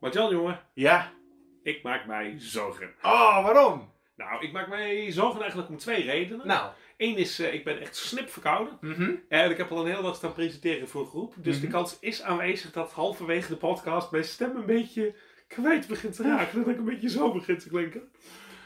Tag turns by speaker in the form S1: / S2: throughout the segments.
S1: Maar Jan, jongen,
S2: Ja.
S1: ik maak mij zorgen.
S2: Oh, waarom?
S1: Nou, ik maak mij zorgen eigenlijk om twee redenen.
S2: Nou.
S1: Eén is, eh, ik ben echt snip verkouden.
S2: Mhm.
S1: En ik heb al een heel wat staan presenteren voor een groep. Dus de
S2: Mhm.
S1: kans is aanwezig dat halverwege de podcast mijn stem een beetje kwijt begint te raken. Dat ik een beetje zo begin te klinken.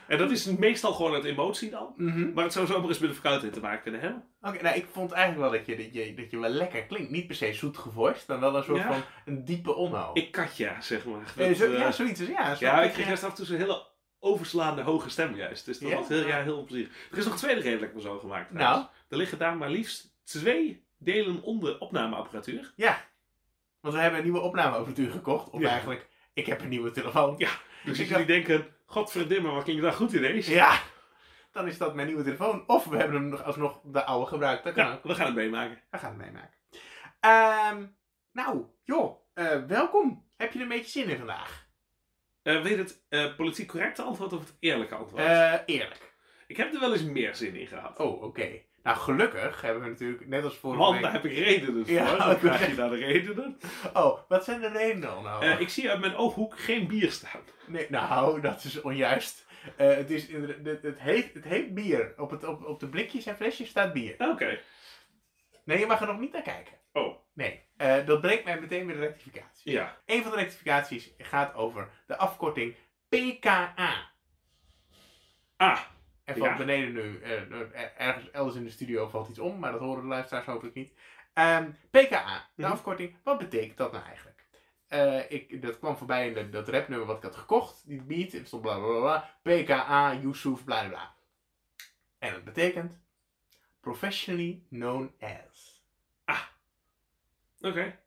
S1: En dat is meestal gewoon uit emotie dan.
S2: Mhm.
S1: Maar het zou zomaar eens met de verkoudheid te maken kunnen hebben.
S2: Oké, nou ik vond eigenlijk wel dat je, dat, je, dat je wel lekker klinkt. Niet per se zoet gevorst, maar wel een soort
S1: Ja.
S2: van een diepe onhoud.
S1: Ik katja, zeg maar.
S2: Eh,
S1: Dat,
S2: zo-
S1: eh,
S2: ja, zoiets is ja. zo-
S1: ja,
S2: dat
S1: ik kreeg
S2: je-
S1: juist af en toe zo'n hele overslaande hoge stem juist. Dus dat
S2: Ja?
S1: was heel, ja, heel plezierig. Er is nog een tweede reden dat ik me zo gemaakt trouwens.
S2: Nou?
S1: Er liggen daar maar liefst twee delen onder
S2: Dus
S1: opnameapparatuur.
S2: Want we hebben een nieuwe opnameapparatuur gekocht. Of
S1: Ja.
S2: eigenlijk, ik heb een nieuwe telefoon.
S1: Ja. Dus als
S2: Ik
S1: jullie denken, godverdimme, wat klinkt daar goed in deze?
S2: Ja, dan is dat mijn nieuwe telefoon. Of we hebben hem nog alsnog de oude gebruikt. Dat kan
S1: Nou,
S2: ook.
S1: we gaan het meemaken.
S2: We gaan het meemaken. Ehm, nou, joh, eh, welkom. Heb je er een beetje zin in vandaag?
S1: Eh weet het eh, politiek correcte antwoord of het eerlijke antwoord?
S2: Eh, eerlijk.
S1: ik heb er wel eens meer zin in gehad.
S2: Oh, oké. Nou, gelukkig hebben we natuurlijk, net als vorige
S1: Want
S2: week...
S1: daar heb ik redenen voor.
S2: Ja,
S1: Dan
S2: ik
S1: krijg je
S2: weet-
S1: daar de redenen.
S2: Oh, wat zijn de redenen dan? Nou?
S1: Eh, ik zie uit mijn ooghoek geen bier staan.
S2: Nee, nou, dat is onjuist. Eh, het, is, inderdaad- het, het, heet, het heet bier. Op, het, op, op de blikjes en flesjes staat bier.
S1: Oké.
S2: Nee, je mag er nog niet naar kijken.
S1: Oh.
S2: Nee, eh, dat brengt mij meteen bij de rectificatie.
S1: Ja.
S2: Een van de rectificaties gaat over de afkorting PKA.
S1: Ah.
S2: Er valt
S1: Ja.
S2: beneden nu, eh, er- ergens elders in de studio valt iets om, maar dat horen de luisteraars hopelijk niet. Ehm, PKA, de
S1: Mhm.
S2: afkorting, wat betekent dat nou eigenlijk? Eh, ik, dat kwam voorbij in dat, dat rapnummer wat ik had gekocht, die beat, en stond bla bla bla, bla, PKA, Yusuf, bla bla, bla. En dat betekent professionally known as.
S1: Oké.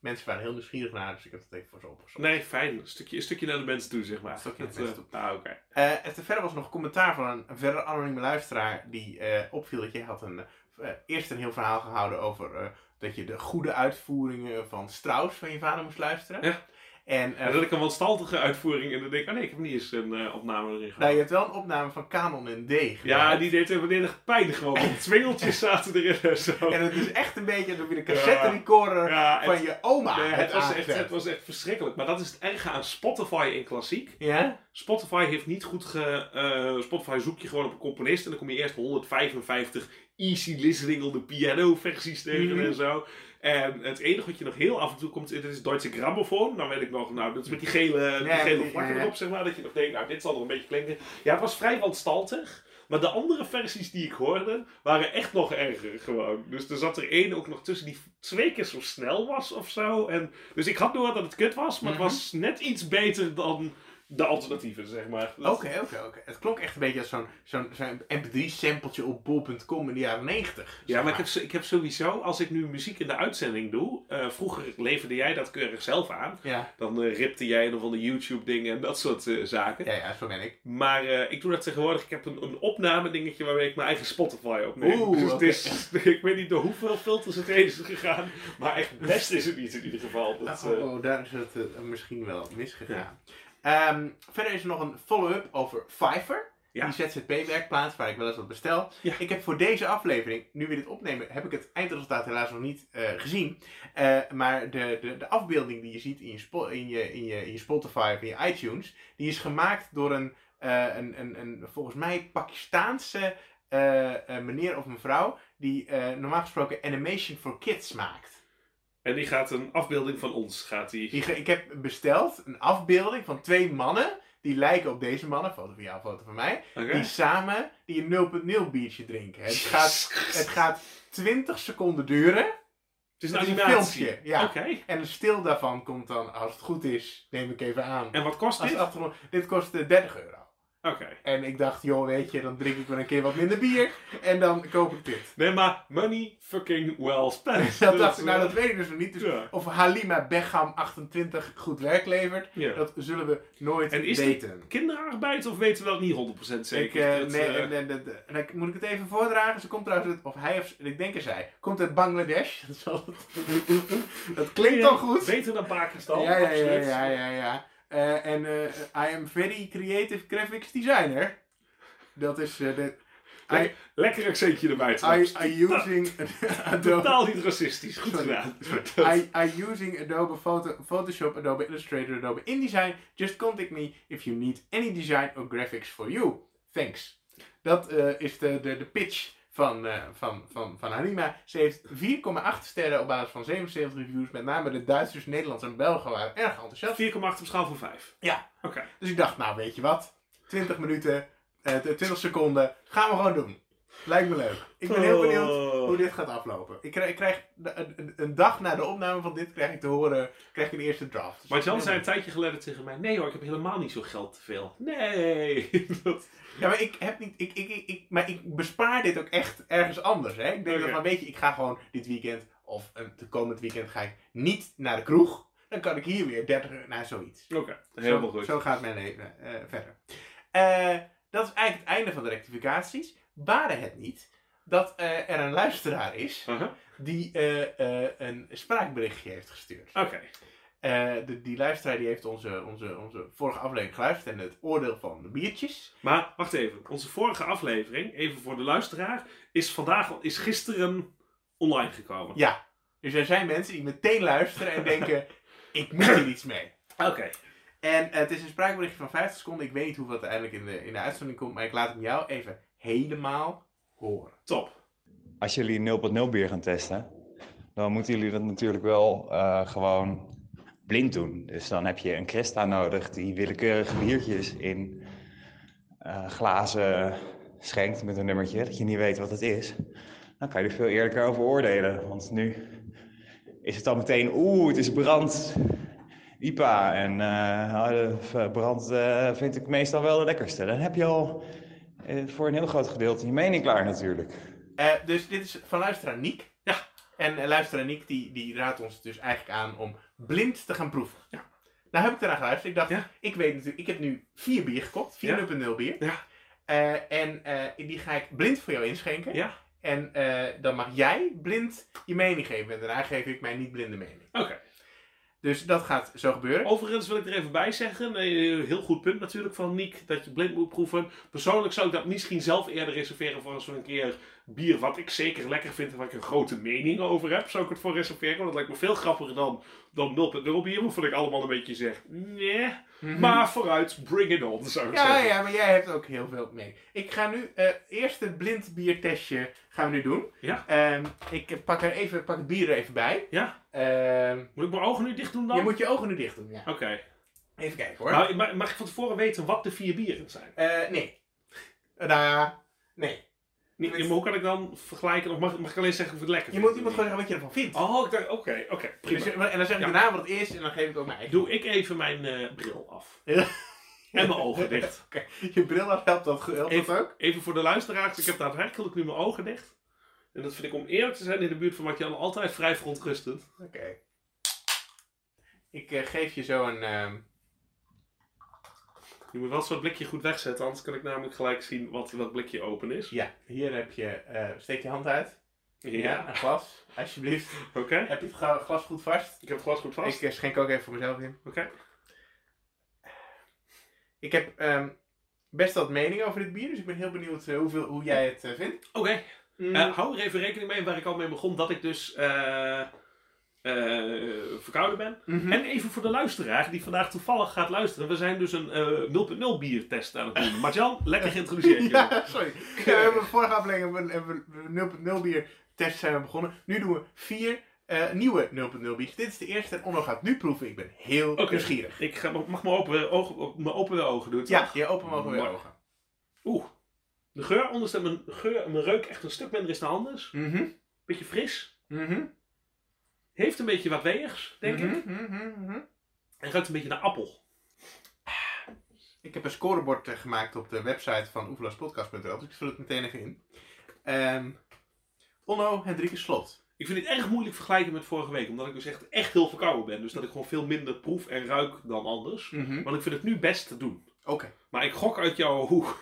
S2: Mensen waren heel nieuwsgierig naar, dus ik heb het even voor ze opgezocht.
S1: Nee, fijn. Een stukje, een stukje naar de mensen toe, zeg maar.
S2: Een stukje naar de
S1: Dat,
S2: mensen
S1: eh, Ah, oké.
S2: Eh, en te verder was nog een commentaar van een, een verder anonieme luisteraar die eh, opviel dat jij had een, eh, eerst een heel verhaal gehouden over eh, dat je de goede uitvoeringen van Strauss van je vader moest luisteren.
S1: Ja.
S2: En eh,
S1: En dat ik een wanstaltige uitvoering en dan denk ik, oh nee, ik heb niet eens een eh, opname erin
S2: nou,
S1: gehad.
S2: je hebt wel een opname van Canon en D.
S1: Ja,
S2: gemaakt.
S1: die deed even volledig pijn gewoon. want Twingeltjes zaten erin en zo.
S2: En het is echt een beetje alsof je de
S1: Ja.
S2: cassette recorder
S1: Ja, het-
S2: van je oma
S1: Nee,
S2: hebt
S1: het, was echt,
S2: aangezet.
S1: het was echt verschrikkelijk. Maar dat is het erge aan Spotify en klassiek.
S2: Ja?
S1: Spotify heeft niet goed ge... eh, Spotify zoek je gewoon op een componist en dan kom je eerst 155 easy listening on the piano versies tegen
S2: Mhm.
S1: en zo. En het enige wat je nog heel af en toe komt, dit is Duitse Grammophon. Dan weet ik nog, nou, dat is met die gele, die
S2: Ja,
S1: gele
S2: die-
S1: vlakken
S2: ja.
S1: erop, zeg maar. Dat je nog denkt, nou, dit zal nog een beetje klinken. Ja, het was vrij wanstaltig. Maar de andere versies die ik hoorde, waren echt nog erger gewoon. Dus er zat er één ook nog tussen die twee keer zo snel was of zo. En, dus ik had door dat het kut was, maar
S2: Mhm.
S1: het was net iets beter dan de alternatieven, zeg maar. Dat-
S2: Oké, oké, oké. Het klonk echt een beetje als zo'n zo'n zo'n mp3-sampletje op bol.com in de jaren 90.
S1: Ja, maar ik heb, zo- ik heb sowieso, als ik nu muziek in de uitzending doe, eh, vroeger leverde jij dat keurig zelf aan.
S2: Ja,
S1: Dan eh, ripte jij een of ander YouTube-dingen en dat soort eh, zaken.
S2: ja, ja, zo ben ik.
S1: Maar eh, ik doe dat tegenwoordig. Ik heb een, een opnamedingetje waarmee ik mijn eigen Spotify opneem.
S2: Oeh,
S1: dus het
S2: oké.
S1: is, ik weet niet door hoeveel filters het heen is gegaan. Maar echt best is het niet in ieder geval. Dat,
S2: Oh,
S1: eh,
S2: oh, daar is het eh, misschien wel misgegaan. Ehm, verder is er nog een follow-up over Fiverr.
S1: Ja.
S2: Die ZZP-werkplaats waar ik wel eens wat bestel.
S1: Ja.
S2: Ik heb voor deze aflevering, nu we dit opnemen, heb ik het eindresultaat helaas nog niet eh, gezien. Eh, maar de, de, de afbeelding die je ziet in je, spo- in, je, in, je, in je Spotify of in je iTunes, die is gemaakt door een, eh, een, een, een volgens mij Pakistaanse eh, eh, meneer of mevrouw, die eh, normaal gesproken animation for kids maakt.
S1: en die gaat een afbeelding van ons. Gaat die...
S2: Die ge- ik heb besteld een afbeelding van twee mannen. Die lijken op deze mannen, foto van jou, foto van mij.
S1: Oké.
S2: Die samen die een 0.0 biertje drinken. Het gaat, het gaat 20 seconden duren.
S1: het is een
S2: het is een
S1: animatie.
S2: filmpje, ja.
S1: Oké.
S2: En een stil daarvan komt dan, als het goed is, neem ik even aan.
S1: En wat kost
S2: Als
S1: dit?
S2: het
S1: Oké.
S2: achtergrond, dit kost eh, 30 euro. En ik dacht, joh, weet je, dan drink ik wel een keer wat minder bier. En dan koop ik dit.
S1: Nee, maar money fucking well spent.
S2: Dat dacht ik,
S1: eh,
S2: nou dat weet ik dus nog niet. Dus
S1: ja.
S2: of Halima Begham 28 goed werk levert,
S1: Ja.
S2: dat zullen we nooit
S1: En is dit-
S2: weten.
S1: Kinderarbeid of weten we dat niet 100%
S2: Ik,
S1: zeker?
S2: eh,
S1: Dat,
S2: nee,
S1: eh,
S2: en, en, en- en dan moet ik het even voordragen. Ze komt trouwens uit, of hij of ik denk er zij, komt uit Bangladesh. Dat, zal- dat klinkt al goed.
S1: Beter dan Pakistan.
S2: Ja, ja, ja,
S1: absoluut.
S2: ja, ja. ja. Eh, en eh, I am very creative graphics designer. Dat is, eh, de, I,
S1: Lekker accentje erbij te
S2: I, I using Adobe.
S1: Totaal niet racistisch. Goed
S2: Sorry.
S1: gedaan.
S2: I, I using Adobe Photo, Photoshop, Adobe Illustrator, Adobe InDesign. Just contact me if you need any design or graphics for you. Thanks. Dat eh, is de, de, de pitch van, eh, van, van, van Halima. Ze heeft 4,8 sterren op basis van 77 reviews. Met name de Duitsers, Nederlanders en Belgen waren erg enthousiast.
S1: 4,8 op schaal van 5.
S2: Ja.
S1: Oké.
S2: Dus ik dacht, nou weet je wat? 20 minuten, eh, 20 seconden. Gaan we gewoon doen. Lijkt me leuk. Ik ben
S1: Oh.
S2: heel benieuwd hoe dit gaat aflopen. Ik krijg, ik krijg de- een- een, een dag na de opname van dit krijg ik te horen, krijg ik een eerste draft. Dus
S1: Maar
S2: ik ben
S1: Jan zei een
S2: benieuwd.
S1: tijdje geleden tegen mij: Nee hoor, ik heb helemaal niet zo geld te veel. Nee. Dat-
S2: Ja, maar ik heb niet, ik, ik, ik, ik- maar ik bespaar dit ook echt ergens anders. Hè? Ik denk
S1: Oké.
S2: dat, maar weet je, ik ga gewoon dit weekend of het de komend weekend ga ik niet naar de kroeg. Dan kan ik hier weer 30 euro, nou zoiets.
S1: Oké, helemaal
S2: zo,
S1: goed.
S2: Zo gaat mijn leven eh, verder. Eh, dat is eigenlijk het einde van de rectificaties. Waren het niet dat eh, er een luisteraar is
S1: Aha.
S2: die eh, eh, een spraakberichtje heeft gestuurd.
S1: Oké.
S2: Eh, de, die luisteraar die heeft onze, onze, onze vorige aflevering geluisterd en het oordeel van de biertjes.
S1: Maar wacht even. Onze vorige aflevering, even voor de luisteraar, is vandaag is gisteren online gekomen.
S2: Ja, dus er zijn mensen die meteen luisteren en denken, ik moet hier iets mee.
S1: Oké.
S2: En eh, het is een spraakberichtje van 50 seconden. Ik weet niet hoeveel het uiteindelijk in de, in de uitzending komt, maar ik laat het jou even helemaal horen.
S1: Top.
S3: Als jullie 0.0 bier gaan testen, dan moeten jullie dat natuurlijk wel eh, gewoon blind doen. Dus dan heb je een Cresta nodig die willekeurige biertjes in eh, glazen schenkt met een nummertje, dat je niet weet wat het is. Dan kan je er veel eerlijker over oordelen. Want nu is het dan meteen, oeh, het is brand IPA. En eh, ah, de v- brand eh, vind ik meestal wel de lekkerste. Dan heb je al eh, voor een heel groot gedeelte je mening klaar natuurlijk.
S2: Eh, dus dit is van luisteraar Niek.
S1: Ja.
S2: En eh, luisteraar Niek die, die raadt ons dus eigenlijk aan om blind te gaan proeven.
S1: Ja.
S2: Nou heb ik eraan geluisterd. Ik dacht,
S1: Ja.
S2: ik weet natuurlijk, ik heb nu vier bier gekocht. 4.0
S1: Ja.
S2: bier.
S1: Ja.
S2: Eh, en eh, die ga ik blind voor jou inschenken.
S1: Ja.
S2: En eh, dan mag jij blind je mening geven. En daarna geef ik mijn niet blinde mening.
S1: Oké.
S2: Dus dat gaat zo gebeuren.
S1: Overigens wil ik er even bij zeggen, eh, heel goed punt natuurlijk van Niek, dat je blind moet proeven. Persoonlijk zou ik dat misschien zelf eerder reserveren voor zo'n keer bier wat ik zeker lekker vind en waar ik een grote mening over heb. Zou ik het voor reserveren, want dat lijkt me veel grappiger dan, dan 0.0 bier, waarvan ik allemaal een beetje zeg, nee.
S2: Mhm.
S1: Maar vooruit, bring it on, zou ik
S2: Ja,
S1: zeggen.
S2: ja, maar jij hebt ook heel veel mee. Ik ga nu eh eerst het blind biertestje gaan we nu doen.
S1: Ja.
S2: Ehm, ik pak, er even, pak het bier er even bij.
S1: Ja.
S2: Ehm,
S1: Moet ik mijn ogen nu dicht doen dan?
S2: je moet je ogen nu dicht doen. Ja.
S1: Oké.
S2: Even kijken hoor.
S1: Nou, ma- mag ik van tevoren weten wat de vier bieren zijn?
S2: Eh, nee. Nou, nee.
S1: Nee,
S2: Met-
S1: maar hoe kan ik dan vergelijken? Of mag, mag ik alleen zeggen of ik het lekker
S2: Je
S1: vind?
S2: moet, je moet gewoon zeggen wat je ervan vindt.
S1: Oh, ik dacht, oké, oké, prima.
S2: Dus, eh, en dan zeg ik
S1: Ja.
S2: daarna wat het is en dan geef ik ook mijn eigen.
S1: Doe ik even mijn eh, bril af.
S2: Ja.
S1: En mijn ogen dicht.
S2: Oké, Je bril af helpt dat, helpt
S1: Even-
S2: dat ook?
S1: Even voor de luisteraars, ik heb daadwerkelijk nu mijn ogen dicht. En dat vind ik om eerlijk te zijn in de buurt van Martjan altijd vrij verontrustend.
S2: Oké. Ik eh, geef je zo een... ehm,
S1: Je moet wel zo'n blikje goed wegzetten, anders kan ik namelijk gelijk zien wat dat blikje open is.
S2: ja, hier heb je... eh, steek je hand uit.
S1: Ja.
S2: Ja, een glas. Alsjeblieft.
S1: Oké,
S2: Heb je het gra- glas goed vast?
S1: ik heb het glas goed vast.
S2: Ik eh, schenk ook even voor mezelf in.
S1: Oké.
S2: Ik heb ehm, best wat meningen over dit bier, dus ik ben heel benieuwd eh, hoeveel, hoe jij het eh, vindt.
S1: Oké,
S2: Mm.
S1: Eh, hou er even rekening mee waar ik al mee begon, dat ik dus eh, eh, verkouden ben.
S2: Mhm.
S1: En even voor de luisteraar die vandaag toevallig gaat luisteren. We zijn dus een eh 0.0 biertest aan het doen. Marjan, lekker geïntroduceerd. jongen.
S2: Ja, sorry. Ja, we hebben de vorige aflevering hebben we- hebben we 0.0 bier test zijn we begonnen. Nu doen we vier eh, nieuwe 0.0 bier. Dit is de eerste en Onno gaat nu proeven. Ik ben heel
S1: Oké.
S2: nieuwsgierig.
S1: Ik ga, mag mijn open ogen, mijn open ogen doen. toch?
S2: Ja, je open mogen weer
S1: Mooi.
S2: ogen.
S1: Oeh. De geur, anders dat mijn, geur, mijn reuk echt een stuk minder is dan anders.
S2: Mhm,
S1: Beetje fris.
S2: mhm,
S1: Heeft een beetje wat weegs, denk ik.
S2: mhm, mhm, mhm.
S1: En ruikt een beetje naar appel.
S2: Ik heb een scorebord eh, gemaakt op de website van oefelaarspodcast.nl, dus ik vul het meteen even in. Ehm Onno Hendrikus Slot.
S1: Ik vind dit erg moeilijk vergelijken met vorige week. Omdat ik dus echt, echt heel verkouden ben. Dus dat ik gewoon veel minder proef en ruik dan anders. Want ik vind het nu best te doen.
S2: Oké.
S1: Maar ik gok uit jouw, hoe,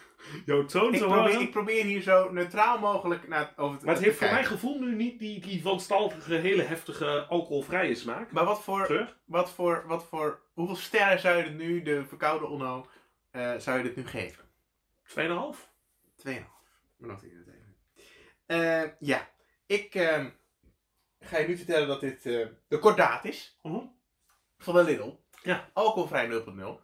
S1: jouw toon
S2: Ik,
S1: te
S2: probeer,
S1: horen.
S2: ik probeer hier zo neutraal mogelijk naar over te
S1: Maar het heeft voor mijn
S2: kijken.
S1: gevoel nu niet die, die wanstaltige, hele heftige alcoholvrije smaak.
S2: Maar wat voor,
S1: Geur?
S2: wat, voor, wat voor... Hoeveel sterren zou je dit nu, de verkoude Onno, eh, zou je dit nu geven?
S1: 2,5?
S2: Tweeënhalf. Bedankt in het even. Eh, ja, ik ehm, ga je nu vertellen dat dit eh, de kordaat is.
S1: Mhm.
S2: Van de Lidl.
S1: Ja.
S2: Alcoholvrij 0.0.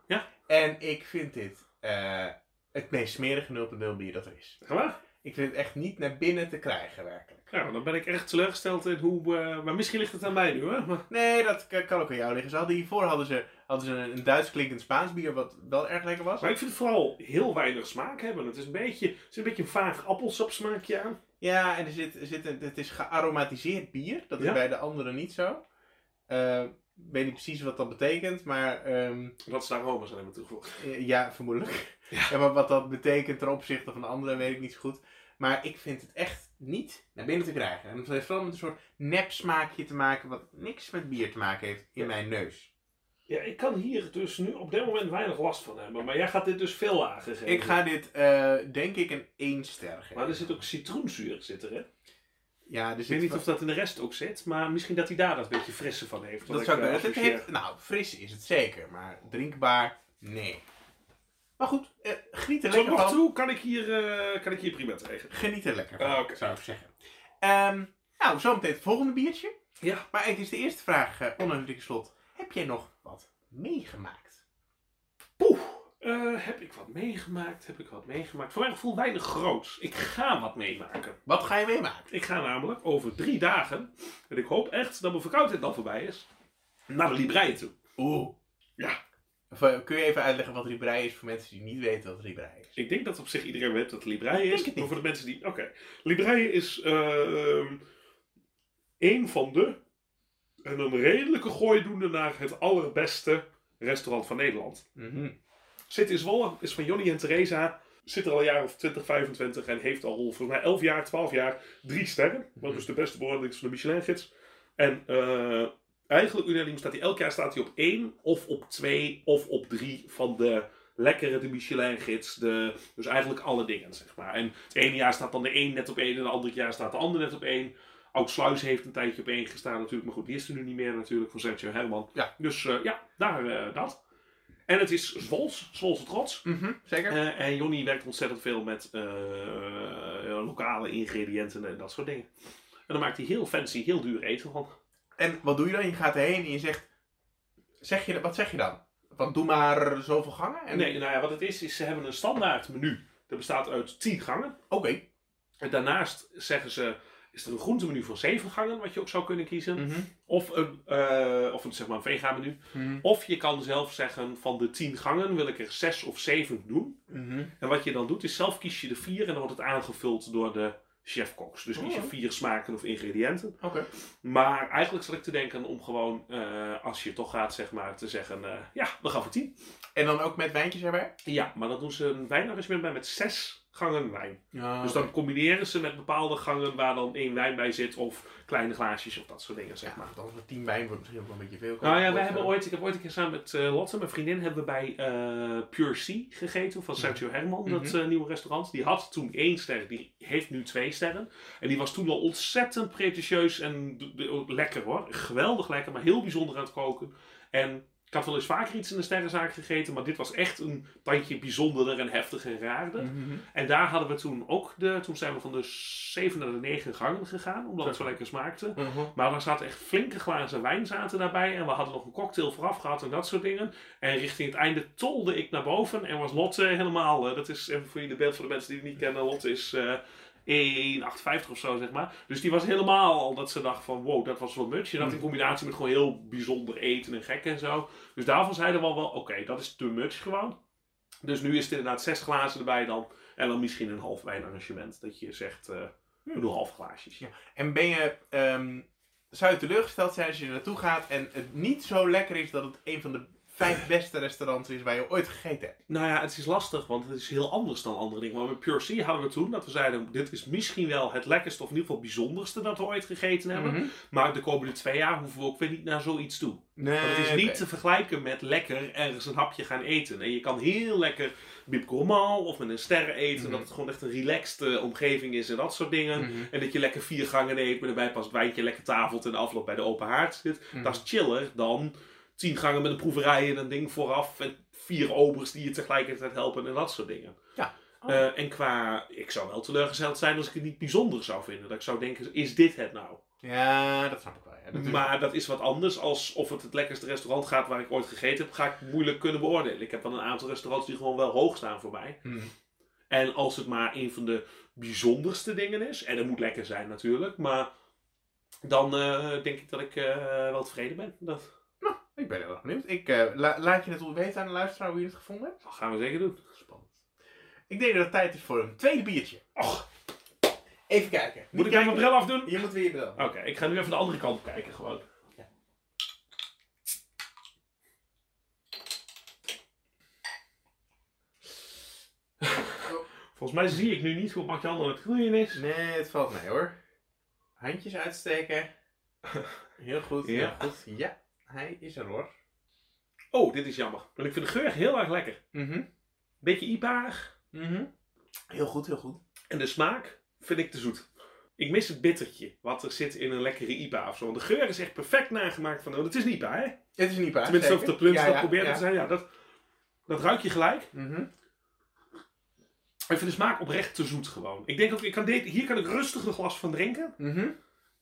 S1: Ja.
S2: En ik vind dit eh, het meest smerige 0.0 bier dat er is.
S1: Echt waar?
S2: Ik vind het echt niet naar binnen te krijgen, werkelijk.
S1: Ja, dan ben ik echt teleurgesteld in hoe... eh, maar misschien ligt het aan mij nu, hè? Maar,
S2: Nee, dat k- kan ook aan jou liggen. Ze hadden hiervoor hadden ze, hadden ze een, een Duits klinkend Spaans bier, wat wel erg lekker was.
S1: maar ik vind het vooral heel weinig smaak hebben. Het is een beetje, er zit een, beetje een vaag appelsapsmaakje aan.
S2: Ja, en er zit, er zit een, het is gearomatiseerd bier. Dat is
S1: Ja.
S2: bij de anderen niet zo. Eh, Ik weet niet precies wat dat betekent, maar ehm,
S1: Dat is daar Romers aan hebben toegevoegd.
S2: eh, ja, vermoedelijk.
S1: Ja.
S2: Ja. maar wat dat betekent ten opzichte van de anderen weet ik niet zo goed. Maar ik vind het echt niet naar binnen te krijgen. En het heeft vooral met een soort nep smaakje te maken, wat niks met bier te maken heeft in
S1: Ja.
S2: mijn neus.
S1: Ja, ik kan hier dus nu op dit moment weinig last van hebben. Maar jij gaat dit dus veel lager geven.
S2: Ik ga dit, eh, denk ik, een 1 ster geven.
S1: Maar er zit ook citroenzuur zit er, hè?
S2: Ja, er
S1: Ik weet
S2: zit
S1: niet of dat in de rest ook zit, maar misschien dat hij daar dat beetje frisse van heeft. wat
S2: Dat zou
S1: eh,
S2: kunnen. Het
S1: associeer.
S2: heeft, nou, fris is het zeker, maar drinkbaar, nee. Maar goed, eh, geniet er
S1: Tot
S2: lekker
S1: nog
S2: van.
S1: toe kan ik hier, eh, kan ik hier prima tegen.
S2: Geniet er lekker van,
S1: Ah, oké.
S2: zou ik zeggen. Ehm, nou, zometeen het volgende biertje.
S1: Ja.
S2: Maar eigenlijk is de eerste vraag, eh onheimelijk slot. Heb jij nog wat meegemaakt?
S1: Poeh, eh, heb ik wat meegemaakt? Heb ik wat meegemaakt? Voor mijn gevoel weinig groots. Ik ga wat meemaken.
S2: Wat ga je meemaken?
S1: Ik ga namelijk over drie dagen, en ik hoop echt dat mijn verkoudheid dan voorbij is, naar de Librei toe.
S2: Oeh.
S1: Ja.
S2: Of, eh, kun je even uitleggen wat Ribrei is voor mensen die niet weten wat Ribrei is?
S1: Ik denk dat op zich iedereen weet dat Librei
S2: Ik denk
S1: is.
S2: het
S1: Maar
S2: niet.
S1: voor de mensen die. Oké. Librei is ehm een van de. En een redelijke gooi doende naar het allerbeste restaurant van Nederland.
S2: Mhm.
S1: Zit in Zwolle, is van Johnny en Theresa. Zit er al een jaar of 20, 25 en heeft al volgens mij 11 jaar, 12 jaar drie sterren. Wat
S2: Mhm.
S1: dus de beste beoordeling is van de Michelin-gids. En eh, eigenlijk unaniem staat hij elk jaar staat hij op één of op twee of op drie van de lekkere, de Michelin-gids. De, dus eigenlijk alle dingen, zeg maar. En het ene jaar staat dan de een net op één en het andere jaar staat de ander net op één. Oudsluis heeft een tijdje op één gestaan natuurlijk, maar goed, die is er nu niet meer natuurlijk, van Sergio Herman.
S2: Ja.
S1: Dus eh, ja, daar eh, dat. En het is Zwols, Zwolse trots.
S2: Mhm, Zeker?
S1: Eh, en Johnny werkt ontzettend veel met eh, lokale ingrediënten en dat soort dingen. En dan maakt hij heel fancy, heel duur eten van.
S2: En wat doe je dan? Je gaat erheen en je zegt... zeg je, wat zeg je dan? Want doe maar zoveel gangen? En,
S1: Nee, nou ja, wat het is, is ze hebben een standaard menu. Dat bestaat uit 10 gangen.
S2: Oké.
S1: En daarnaast zeggen ze, is er een groentemenu van zeven gangen, wat je ook zou kunnen kiezen.
S2: Mhm.
S1: Of een, eh, of een, zeg maar een vegan menu.
S2: Mhm.
S1: Of je kan zelf zeggen, van de tien gangen wil ik er zes of zeven doen.
S2: Mhm.
S1: En wat je dan doet, is zelf kies je de vier en dan wordt het aangevuld door de chefkoks. Dus kies je
S2: Oh.
S1: vier smaken of ingrediënten.
S2: Oké.
S1: Maar eigenlijk zat ik te denken om gewoon, eh, als je toch gaat, zeg maar, te zeggen, eh, ja, we gaan voor tien.
S2: En dan ook met wijntjes erbij?
S1: Ja, maar dan doen ze een wijnarrangement bij met zes gangen wijn.
S2: Ja.
S1: Dus dan combineren ze met bepaalde gangen waar dan één wijn bij zit of kleine glaasjes of dat soort dingen, zeg
S2: Ja,
S1: maar.
S2: want anders met 10 wijn wordt misschien ook wel een beetje veel.
S1: Nou ja, wij hebben ooit, ik heb ooit een keer samen met eh, Lotte, mijn vriendin, hebben we bij eh, Pure Sea gegeten van Sergio Herman, dat
S2: Mhm.
S1: eh, nieuwe restaurant. Die had toen één ster, die heeft nu twee sterren. En die was toen al ontzettend pretentieus en d- d- lekker hoor. Geweldig lekker, maar heel bijzonder aan het koken. En ik had wel eens vaker iets in de sterrenzaak gegeten, maar dit was echt een tandje bijzonderder en heftiger en raarder.
S2: Mhm.
S1: En daar hadden we toen ook de. Toen zijn we van de 7 naar de 9 gangen gegaan, omdat het zo lekker smaakte.
S2: Mhm.
S1: Maar er zaten echt flinke glazen wijn zaten daarbij. En we hadden nog een cocktail vooraf gehad en dat soort dingen. En richting het einde tolde ik naar boven en was Lotte helemaal. eh, dat is even voor jullie beeld voor de mensen die het niet kennen. Lotte is. eh 1,58 of zo, zeg maar. Dus die was helemaal al dat ze dacht van... wow, dat was wel much. En dat in combinatie met gewoon heel bijzonder eten en gek en zo. Dus daarvan zeiden we al wel... oké, dat is te much gewoon. Dus nu is het inderdaad zes glazen erbij dan. En dan misschien een half wijnarrangement. Dat je zegt... eh ik doe half glaasjes.
S2: En ben je, ehm, zou je teleurgesteld zijn als je er naartoe gaat en het niet zo lekker is dat het een van de vijf beste restaurants is waar je ooit gegeten hebt?
S1: Nou ja, het is lastig, want het is heel anders dan andere dingen. Maar met Pure Sea hadden we toen dat we zeiden: dit is misschien wel het lekkerste of in ieder geval bijzonderste dat we ooit gegeten hebben.
S2: Mhm.
S1: Maar de komende twee jaar hoeven we ook weer niet naar zoiets toe.
S2: Nee,
S1: Want het is niet
S2: Eh, oké.
S1: te vergelijken met lekker ergens een hapje gaan eten. En je kan heel lekker bib gourmand of met een sterren eten,
S2: Mhm.
S1: dat het gewoon echt een relaxed eh, omgeving is en dat soort dingen.
S2: Mhm.
S1: En dat je lekker vier gangen eet, maar daarbij pas het wijntje lekker tafelt en de afloop bij de open haard zit.
S2: Mhm.
S1: Dat is chiller dan tien gangen met een proeverij en een ding vooraf en vier obers die je tegelijkertijd helpen en dat soort dingen. Eh, en qua, ik zou wel teleurgesteld zijn als ik het niet bijzonder zou vinden. Dat ik zou denken, is dit het nou?
S2: Ja, dat snap ik wel. Ja. Dat is-
S1: Maar dat is wat anders als of het het lekkerste restaurant gaat waar ik ooit gegeten heb, ga ik moeilijk kunnen beoordelen. Ik heb wel een aantal restaurants die gewoon wel hoog staan voor mij.
S2: Hm.
S1: En als het maar een van de bijzonderste dingen is, en dat moet lekker zijn natuurlijk, maar dan eh, denk ik dat ik eh, wel tevreden ben. Dat
S2: Ik ben heel erg benieuwd. Ik, eh, la- laat je het wel weten aan de luisteraar hoe je het gevonden hebt.
S1: dat gaan we zeker doen.
S2: Spannend. Ik denk dat het tijd is voor een tweede biertje.
S1: Och,
S2: Even kijken.
S1: moet ik nou mijn bril afdoen?
S2: Je moet weer je bril.
S1: Oké, ik ga nu even de andere kant op kijken gewoon. Volgens mij zie ik nu niet hoe Mark-Jan het groeien is.
S2: Nee, het valt mee hoor. Handjes uitsteken. Heel goed, heel
S1: Ja.
S2: goed. Ja, hij is er hoor.
S1: Oh, dit is jammer. Want ik vind de geur heel erg lekker.
S2: Mhm.
S1: Beetje ipaig.
S2: Mhm. Heel goed, heel goed.
S1: En de smaak vind ik te zoet. Ik mis het bittertje wat er zit in een lekkere IPA of zo. Want de geur is echt perfect nagemaakt van... Het is een IPA, hè?
S2: Het is niet waar.
S1: Tenminste, of
S2: zeker.
S1: de plums
S2: Ja,
S1: dat
S2: ja,
S1: probeert
S2: ja.
S1: te zijn. Ja, dat, dat ruik je gelijk.
S2: Mhm.
S1: Ik vind de smaak oprecht te zoet gewoon. Ik denk ook, ik kan dit, hier kan ik rustig een glas van drinken.
S2: Mhm.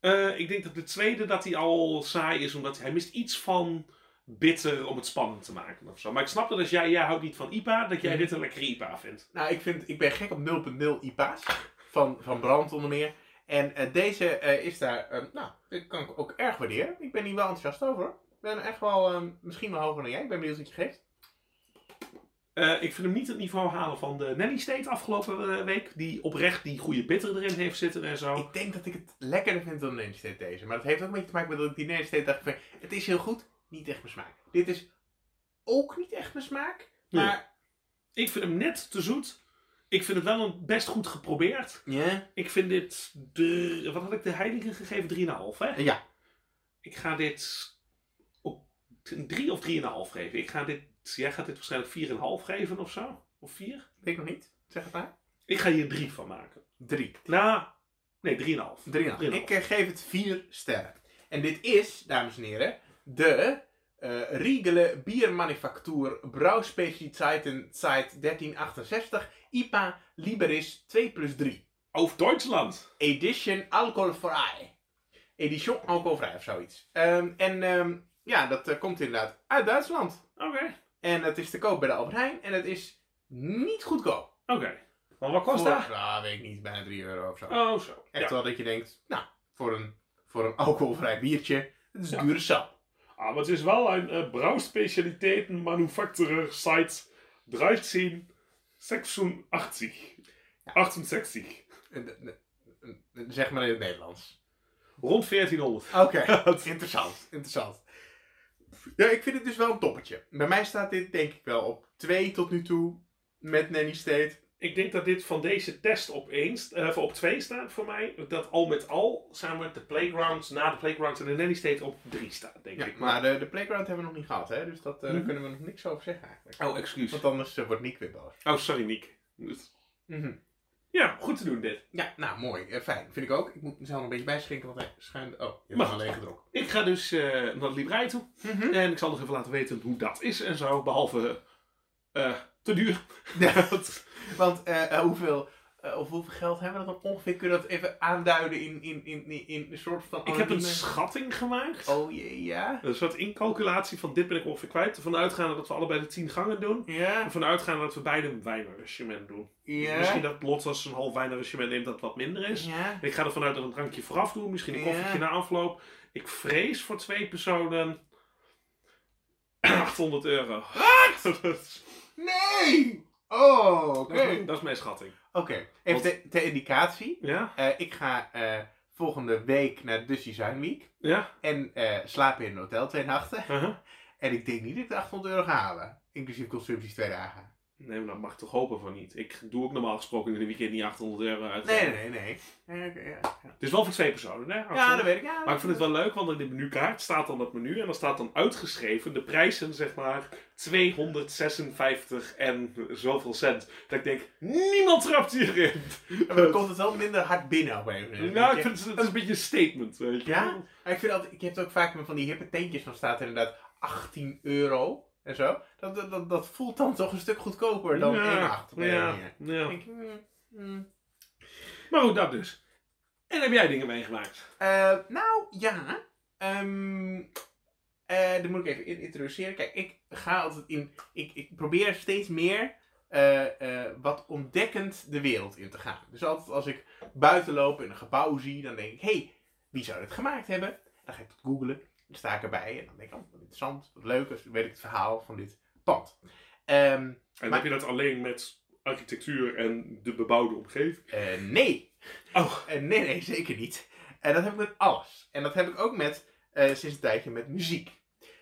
S1: Eh, ik denk dat de tweede dat hij al saai is, omdat hij mist iets van bitter om het spannend te maken of zo. Maar ik snap dat als jij, jij houdt niet van IPA, dat jij dit een lekkere IPA vindt.
S2: Nou, ik, vind, ik ben gek op 0.0 IPA's. Van, van Brand onder meer. En eh, deze eh, is daar, eh, nou, dit kan ik ook erg waarderen. Ik ben hier wel enthousiast over hoor. Ik ben echt wel, eh, misschien wel hoger dan jij. Ik ben benieuwd wat je geeft.
S1: Eh, ik vind hem niet het niveau halen van de Nanny State afgelopen eh, week, die oprecht die goede bitter erin heeft zitten en zo.
S2: Ik denk dat ik het lekkerder vind dan Nanny State deze. Maar dat heeft ook een beetje te maken met dat ik die Nanny State dacht van... Het is heel goed, niet echt mijn smaak. Dit is ook niet echt mijn smaak.
S1: Nee.
S2: Maar...
S1: Ik vind hem net te zoet. Ik vind het wel een best goed geprobeerd.
S2: Ja?
S1: Ik vind dit, dr- wat had ik de heilige gegeven? 3,5 hè?
S2: Ja.
S1: Ik ga dit op een 3 of 3,5 geven. Ik ga dit, jij gaat dit waarschijnlijk 4,5 geven of zo. Of 4.
S2: Weet ik nog niet. Zeg het maar.
S1: Ik ga hier een 3 van maken.
S2: Drie.
S1: Nou, nee, 3,5.
S2: Drieënhalf.
S1: Drieënhalf.
S2: Ik eh, geef het vier sterren. En dit is, dames en heren, de eh Riegele Biermanufactuur Brouwspecialiteiten Zeit 1368 IPA Liberis 2 plus 3.
S1: Over Duitsland.
S2: Edition alcoholvrij. Edition alcoholvrij of zoiets. Ehm, en ehm, ja, dat eh, komt inderdaad uit Duitsland.
S1: Oké.
S2: En het is te koop bij de Albert Heijn. En het is niet goedkoop.
S1: Oké. Maar wat kost
S2: Voor-
S1: dat?
S2: Nou, weet ik niet, bijna 3 euro of zo.
S1: Oh, zo.
S2: Echt
S1: Ja.
S2: wel dat je denkt, nou, voor een, voor een alcoholvrij biertje, het is
S1: Ja.
S2: dure sap.
S1: Ah, maar het is wel een uh, brouwspecialiteiten manufacturer site 1386. 68.
S2: En de- de- de- Zeg maar in het Nederlands.
S1: Rond 1400.
S2: Oké, interessant, interessant. Ja, ik vind het dus wel een toppertje. Bij mij staat dit denk ik wel op 2 tot nu toe, met Nanny State.
S1: Ik denk dat dit van deze test op, één, st- eh, op twee staat voor mij. Dat al met al samen met de playgrounds, na de playgrounds en de nanny state op drie staat, denk
S2: Ja,
S1: ik.
S2: maar de, de playground hebben we nog niet gehad, hè? dus dat, eh, daar
S1: Mhm.
S2: kunnen we nog niks over zeggen eigenlijk.
S1: Oh, excuus.
S2: Want anders eh, wordt Nick weer boos.
S1: Oh, sorry, Nick. Dus- Ja, goed te doen dit.
S2: Mhm. Ja, nou mooi, eh, fijn, vind ik ook. Ik moet mezelf nog een beetje bijschenken, want hij schuimt... Oh, je
S1: Mag.
S2: hebt alleen gedronken.
S1: Ik ga dus eh, naar de librei toe.
S2: Mhm.
S1: En ik zal nog even laten weten hoe dat is en zo. Behalve eh, eh, te duur.
S2: Ja, want- want eh, eh, hoeveel, eh, of hoeveel geld hebben we dat dan ongeveer? Kun je dat even aanduiden in, in, in, in, in een soort van...
S1: Ik heb een
S2: anonieme-
S1: schatting gemaakt.
S2: Oh jee, ja?
S1: Een soort incalculatie van dit ben ik ongeveer kwijt. Ervan uitgaande dat we allebei de tien gangen doen.
S2: Ja?
S1: Ervan uitgaande dat we beide een wijnarrangement doen.
S2: Ja?
S1: Misschien dat Lot als een half wijnarrangement neemt dat het wat minder is.
S2: Ja?
S1: Ik ga ervan uit dat we een drankje vooraf doen. Misschien een
S2: Ja.
S1: koffietje na afloop. Ik vrees voor twee personen 800 euro. Wat? dat, is,
S2: Nee! Oh, oké.
S1: dat is mijn- dat is mijn schatting.
S2: Oké, even
S1: Want-
S2: ter- ter indicatie.
S1: Ja?
S2: Eh, ik ga eh, volgende week naar Dutch Design Week.
S1: Ja?
S2: En eh, slapen in een hotel twee nachten.
S1: Uh-huh.
S2: En ik denk niet dat ik de 800 euro ga halen. Inclusief consumpties twee dagen.
S1: Nee, maar dat mag ik toch hopen van niet. Ik doe ook normaal gesproken in de weekend niet 800 euro uit.
S2: Nee, nee, nee. nee. Eh, oké, ja.
S1: Het is wel voor twee personen, hè?
S2: ja,
S1: 800.
S2: dat weet ik. Ja,
S1: Maar ik vind het wel leuk, want in de menukaart staat dan dat menu en dan staat dan uitgeschreven de prijzen, zeg maar, 256 en zoveel cent. Dat ik denk, niemand trapt hierin.
S2: Maar dan komt het wel minder hard binnen op een of andere
S1: Nou,
S2: manier.
S1: ik vind het, het is een beetje een statement, weet je.
S2: Ah, Ja? Maar ik vind altijd, ik heb het ook vaak met van die hippe tentjes, dan staat er inderdaad 18 euro. en zo. Dat, dat, dat, dat voelt dan toch een stuk goedkoper dan
S1: ja,
S2: 1,8 op een of andere manier.
S1: ja, ja.
S2: Ik denk, mm, mm.
S1: Maar goed, dat dus. En heb jij dingen meegemaakt?
S2: Eh, nou, ja. Ehm eh dat moet ik even in- introduceren. Kijk, ik ga altijd in... Ik, ik probeer steeds meer eh, eh, wat ontdekkend de wereld in te gaan. Dus altijd als ik buiten loop en een gebouw zie, dan denk ik... hey, wie zou dit gemaakt hebben? Dan ga ik dat googlen. Dan sta ik erbij en dan denk ik, oh, wat interessant, wat leuk. Dan weet ik het verhaal van dit pand. Ehm,
S1: En
S2: Maar-
S1: heb je dat alleen met architectuur en de bebouwde omgeving?
S2: eh, nee,
S1: Oh,
S2: Eh, nee, nee, zeker niet. En dat heb ik met alles. En dat heb ik ook met, eh, sinds een tijdje met muziek.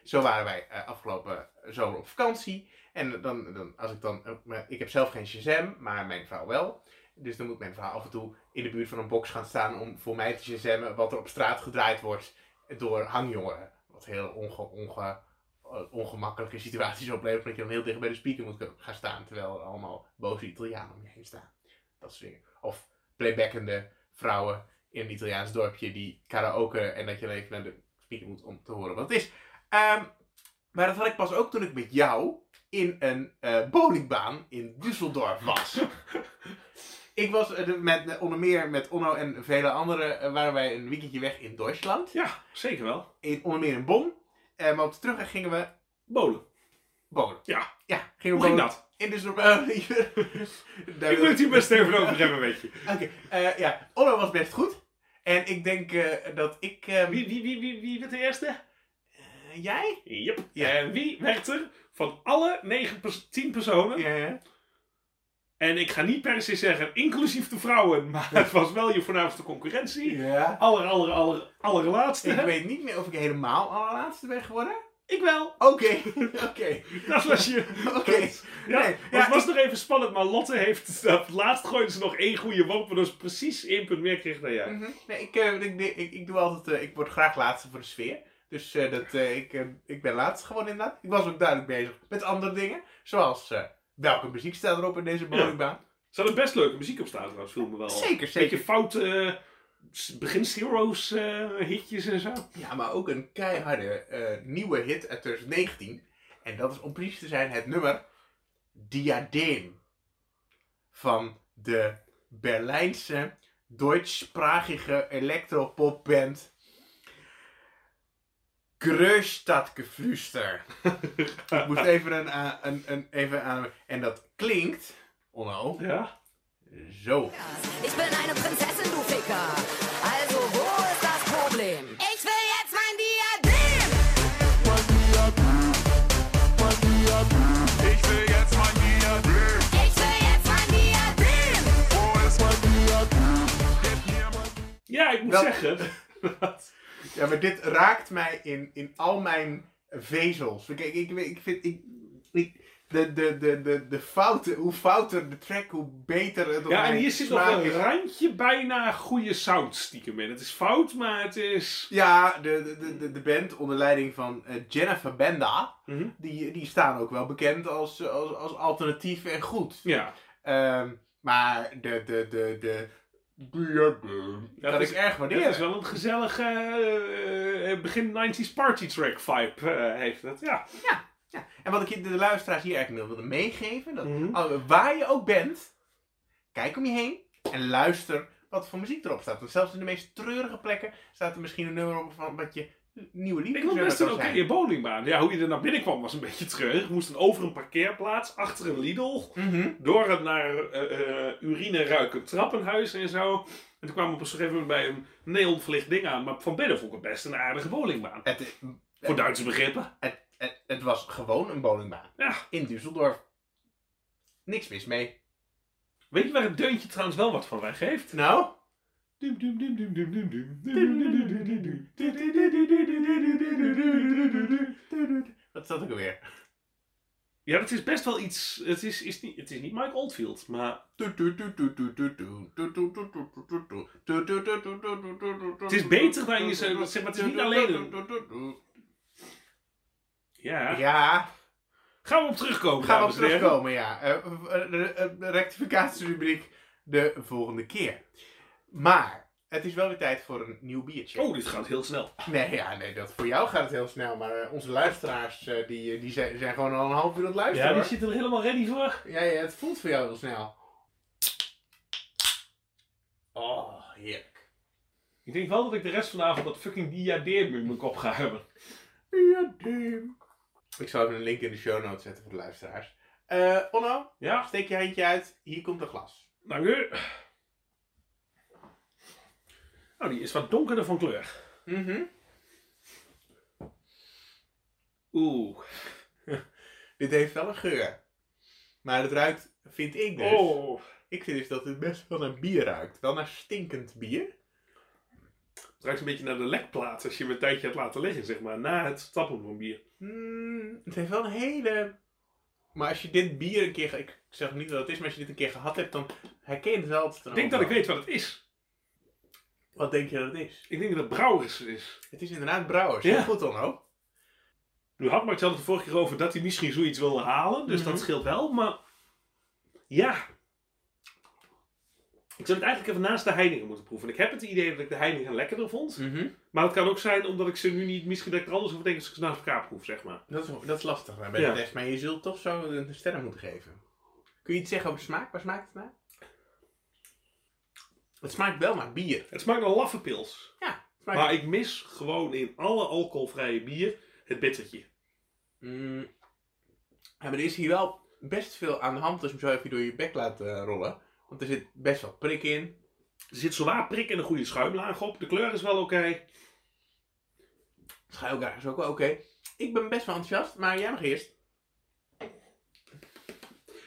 S2: Zo waren wij eh, afgelopen zomer op vakantie. En dan, dan als ik dan, eh, maar ik heb zelf geen Shazam, maar mijn vrouw wel. Dus dan moet mijn vrouw af en toe in de buurt van een box gaan staan om voor mij te Shazammen wat er op straat gedraaid wordt door hangjongeren. Wat een heel onge, onge, eh, ongemakkelijke situaties oplevert, omdat je dan heel dicht bij de speaker moet gaan staan, terwijl er allemaal boze Italianen om je heen staan. Dat soort dingen. Of playbackende vrouwen in een Italiaans dorpje die karaoke en dat je dan even naar de speaker moet om te horen wat het is. Ehm, maar dat had ik pas ook toen ik met jou in een eh bowlingbaan in Düsseldorf was. ik was eh, de- met, onder meer met Onno en vele anderen eh, waren wij een weekendje weg in Duitsland.
S1: ja, zeker wel.
S2: In, onder meer in Bonn. Eh, maar op de terugweg gingen we
S1: Bolen.
S2: bowlen.
S1: Ja.
S2: Ja, gingen
S1: Hoe
S2: we
S1: ging
S2: bowlen.
S1: dat?
S2: In Düsseldorf. Eh, daar
S1: Ik wil het hier best even over hebben, weet je.
S2: Oké, eh, ja. Onno was best goed. En ik denk eh, dat ik... eh,
S1: Wie, wie, wie, wie, wie werd de eerste?
S2: eh, jij?
S1: Yep.
S2: Ja.
S1: En wie werd er van alle 9, pers- 10 personen?
S2: Ja, ja.
S1: En ik ga niet per se zeggen inclusief de vrouwen, maar het was wel je voornaamste concurrentie.
S2: Ja.
S1: Aller, aller, aller, allerlaatste.
S2: Ik weet niet meer of ik helemaal allerlaatste ben geworden.
S1: Ik wel.
S2: Oké, oké,
S1: Dat was je.
S2: oké.
S1: Ja,
S2: Nee, ja,
S1: het was nog even spannend, maar Lotte heeft... Op het laatst gooide ze nog één goede worp, maar dus precies één punt meer kreeg dan jij.
S2: Mhm. Nee, ik, eh, ik, ik, ik doe altijd, eh, ik word graag laatste voor de sfeer. Dus eh, dat, eh, ik, eh, ik ben laatst gewoon inderdaad. Ik was ook duidelijk bezig met andere dingen. Zoals eh, welke muziek staat erop in deze bowlingbaan.
S1: Ze hadden best leuke muziek op staan trouwens, viel me wel. op.
S2: Zeker, zeker.
S1: Beetje foute eh, begin zeros eh, hitjes en zo.
S2: Ja, maar ook een keiharde eh, nieuwe hit uit 2019. En dat is om precies te zijn het nummer Diadeem. Van de Berlijnse Duitsprachige electropopband Kreustadgeflüster. Ik moest even, een, a- een, een, even aan... En dat klinkt, Onno,
S1: Ja.
S2: zo.
S4: Ich bin eine Prinzessin, du Ficker. Also wo ist das Problem? Ich will jetzt mein Diadem.
S5: Ich will jetzt mein Diadem.
S4: Ich will jetzt mein Diadem.
S5: Wo ist mein Diadem? Gib mir mein
S1: Ja, ik moet
S2: Dat-
S1: zeggen. dat-
S2: Ja, maar dit raakt mij in, in al mijn vezels. Kijk, ik, ik vind... Ik, ik, de, de, de, de, de fouten, hoe fouter de track, hoe beter het op
S1: ja, en
S2: mijn
S1: hier zit nog
S2: smaak
S1: een
S2: is.
S1: randje bijna goede sound stiekem in. Het is fout, maar het is...
S2: Ja, de, de- de, de, de band onder leiding van eh, Jennifer Benda,
S1: Mhm.
S2: die, die staan ook wel bekend als, eh, als, als alternatief en goed.
S1: Ja.
S2: Ehm, maar de... de, de, de Diadem,
S1: Ja,
S2: dat
S1: dat
S2: ik
S1: is-
S2: erg
S1: Maar dit
S2: waardeer.
S1: is wel een gezellige eh, eh, begin 90s party track vibe eh, heeft het. Ja.
S2: Ja, en wat ik je- de luisteraars hier eigenlijk mee wilde meegeven, dat
S1: Mhm.
S2: al- waar je ook bent, kijk om je heen en luister wat voor muziek erop staat. Want zelfs in de meest treurige plekken staat er misschien een nummer op van wat je nieuwe
S1: Ik
S2: liedjes
S1: vond best een
S2: kan
S1: oké
S2: zijn.
S1: bowlingbaan. Ja, hoe je er naar binnen kwam was een beetje treurig. We moesten over een parkeerplaats, achter een Lidl,
S2: Mhm.
S1: door een naar eh, eh, urine ruikend trappenhuis en zo. En toen kwamen we op een gegeven moment bij een neonverlicht ding aan. Maar van binnen vond ik het best een aardige bowlingbaan.
S2: het,
S1: Voor Duitse begrippen.
S2: het, het, het was gewoon een bowlingbaan.
S1: Ja.
S2: In Düsseldorf. Niks mis mee.
S1: Weet je waar het deuntje trouwens wel wat van weg heeft?
S2: Nou? Wat staat ook alweer?
S1: Ja, het is best wel iets. Het is, is niet, het is niet Mike Oldfield, maar
S2: Het
S1: is beter dan je zou- zeg maar, het is niet alleen
S2: een...
S1: ja.
S2: Ja,
S1: Gaan we op terugkomen.
S2: gaan we op
S1: dames en heren.
S2: terugkomen, ja. Eh, eh, eh, eh, rectificatierubriek de volgende keer. Maar, eh, Het is wel weer tijd voor een nieuw biertje.
S1: Oh, dit gaat heel snel.
S2: Nee, ja, nee, dat, voor jou gaat het heel snel. Maar eh, onze luisteraars eh, die, eh, die zijn, zijn gewoon al een half uur aan het luisteren.
S1: Ja, die
S2: hoor.
S1: zit er helemaal ready voor.
S2: Ja, ja, het voelt voor jou heel snel. Oh, heerlijk.
S1: Ik denk wel dat ik de rest vanavond dat fucking diadeem in mijn kop ga hebben.
S2: Ja, damn. Ik zal even een link in de show notes zetten voor de luisteraars. Eh, Onno,
S1: Ja, eh.
S2: steek je handje uit. Hier komt een glas.
S1: dank u. Nou, die is wat donkerder van kleur.
S2: Mhm.
S1: Oeh.
S2: Dit heeft wel een geur. Maar het ruikt, vind ik dus.
S1: Oh.
S2: Ik vind dus dat het best wel naar bier ruikt. Wel naar stinkend bier.
S1: Het ruikt een beetje naar de lekplaat als je hem een tijdje hebt laten liggen, zeg maar. Na het tappen van bier.
S2: Mm, het heeft wel een hele... Maar als je dit bier een keer... ge- Ik zeg niet wat het is, maar als je dit een keer gehad hebt, dan herken je het wel.
S1: Ik denk dat ik weet wat het is.
S2: Wat denk je dat het is?
S1: Ik denk dat het brouwers is.
S2: Het is inderdaad brouwers.
S1: Ja.
S2: Heel goed, Onno.
S1: Nu had Max het de vorige keer over dat hij misschien zoiets wilde halen, dus dat
S2: Mhm.
S1: scheelt wel, maar ja. Ik zou het eigenlijk even naast de Heiningen moeten proeven. Ik heb het idee dat ik de Heiningen lekkerder vond,
S2: Mhm.
S1: maar het kan ook zijn omdat ik ze nu niet, misschien dat ik er anders over denk als ik ze naast elkaar proef, zeg maar.
S2: dat, is, dat is lastig hè, bij
S1: Ja.
S2: de test, maar je zult toch zo een sterren moeten geven. Kun je iets zeggen over de smaak? Waar smaakt het naar? Het smaakt wel naar bier.
S1: Het smaakt naar laffe pils,
S2: Ja, het smaakt...
S1: maar ik mis gewoon in alle alcoholvrije bier het bittertje.
S2: Mm. Ja, maar er is hier wel best veel aan de hand als je hem zo even door je bek laat eh, rollen. Want er zit best wel prik in.
S1: Er zit zwaar prik en een goede schuimlaag op, de kleur is wel oké.
S2: Schuilgaar is ook wel oké. Ik ben best wel enthousiast, maar jij mag eerst.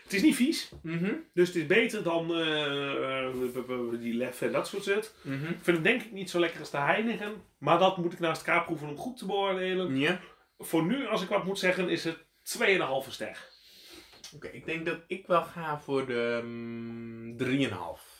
S1: Het is niet vies,
S2: Mhm.
S1: dus het is beter dan eh, eh, die lef en dat soort shit.
S2: Mhm.
S1: Ik vind hem denk ik niet zo lekker als de Heinigen. Maar dat moet ik naast elkaar proeven om goed te beoordelen.
S2: Ja.
S1: Voor nu, als ik wat moet zeggen, is het 2,5 ster.
S2: Oké, ik denk dat ik wel ga voor de mm, 3,5.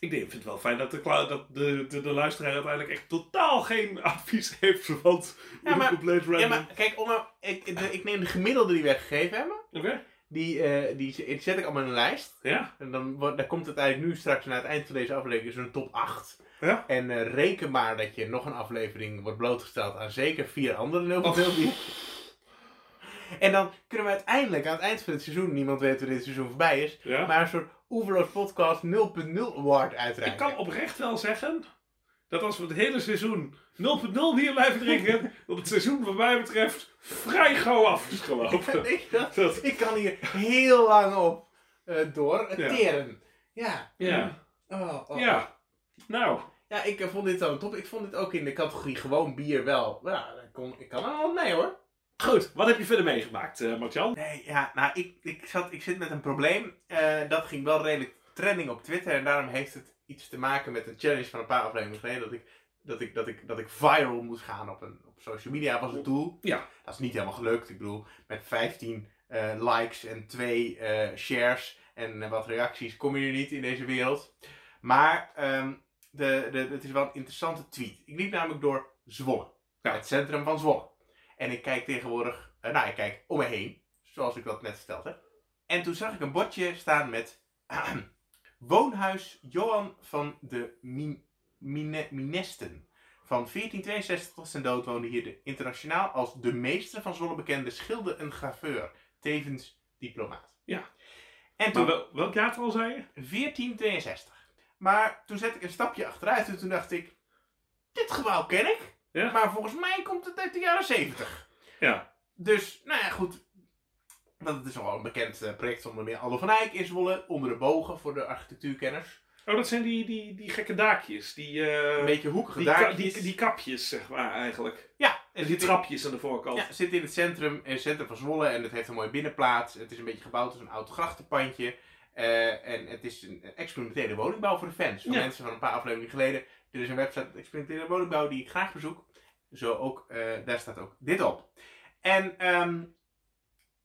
S1: Ik denk, ik vind het wel fijn dat, de, kla- dat de, de, de luisteraar uiteindelijk echt totaal geen advies heeft. Want
S2: Ja, maar-
S1: compleet random.
S2: Ja, maar kijk, om, eh, ik, de- ik neem de gemiddelde die we gegeven hebben.
S1: Oké,
S2: Die, eh, die z- die zet ik allemaal in een lijst.
S1: ja.
S2: En dan, wordt- daar komt het eigenlijk nu straks na het eind van deze aflevering zo'n top 8.
S1: Ja.
S2: En eh, reken maar dat je nog een aflevering wordt blootgesteld aan zeker vier andere
S1: Oh.
S2: nulpenfilmpjes. En dan kunnen we uiteindelijk aan het eind van het seizoen, niemand weet hoe dit seizoen voorbij is,
S1: ja.
S2: maar een soort Oeverloos Podcast 0.0 Award uitreiken.
S1: ik kan oprecht wel zeggen dat als we het hele seizoen 0.0 hier blijven drinken, dat het seizoen wat mij betreft vrij gauw af is gelopen.
S2: Weet je dat?
S1: Dat-
S2: Ik kan hier heel lang op eh, door. Het
S1: Ja.
S2: teren. Ja.
S1: ja.
S2: Oh, oh.
S1: ja, nou.
S2: Ja, ik eh, vond dit dan top. Ik vond dit ook in de categorie gewoon bier wel. Ja, dat kon, ik kan er wel mee hoor.
S1: Goed, wat heb je verder meegemaakt, eh Martjan?
S2: Nee, ja, nou, ik, ik, zat, ik zit met een probleem. Eh, dat ging wel redelijk trending op Twitter. En daarom heeft het iets te maken met een challenge van een paar afleveringen geleden. Dat ik, dat ik, dat ik, dat ik viral moest gaan op, een, op social media, was het doel.
S1: Ja.
S2: Dat is niet helemaal gelukt. Ik bedoel, met 15 eh, likes en 2 eh, shares en eh, wat reacties kom je er niet in deze wereld. Maar ehm, de, de, het is wel een interessante tweet. Ik liep namelijk door Zwolle.
S1: Ja.
S2: Het centrum van Zwolle. En ik kijk tegenwoordig, eh, nou ik kijk om me heen, zoals ik dat net verteld heb. En toen zag ik een bordje staan met woonhuis Johan van de Min- Mine- Minesten. Van 1462 tot zijn dood woonde hier de internationaal als de meester van Zwolle bekende schilder en graveur, tevens diplomaat.
S1: Ja.
S2: En toen
S1: Maar wel, welk jaartal zei je?
S2: 1462. Maar toen zette ik een stapje achteruit en toen dacht ik, dit gebouw ken ik,
S1: Ja.
S2: maar volgens mij komt het uit de jaren 70.
S1: Ja.
S2: Dus, nou ja, goed. Want het is nogal een bekend eh, project onder meer Aldo van Eyck in Zwolle, onder de bogen voor de architectuurkenners.
S1: Oh, dat zijn die, die, die gekke daakjes. Die, eh,
S2: Een beetje hoekige
S1: die, ka-
S2: daakjes.
S1: die, die kapjes, zeg maar, eigenlijk.
S2: ja, en
S1: En die
S2: zit in-
S1: trapjes aan de voorkant.
S2: Ja, het zit in het centrum, in het centrum van Zwolle en het heeft een mooie binnenplaats. Het is een beetje gebouwd als een oud grachtenpandje. Eh, en het is een een experimentele woningbouw voor de fans. Voor
S1: Ja.
S2: mensen van een paar afleveringen geleden. Er is een website experimentele woningbouw die ik graag bezoek. Zo ook, eh, daar staat ook dit op. En ehm,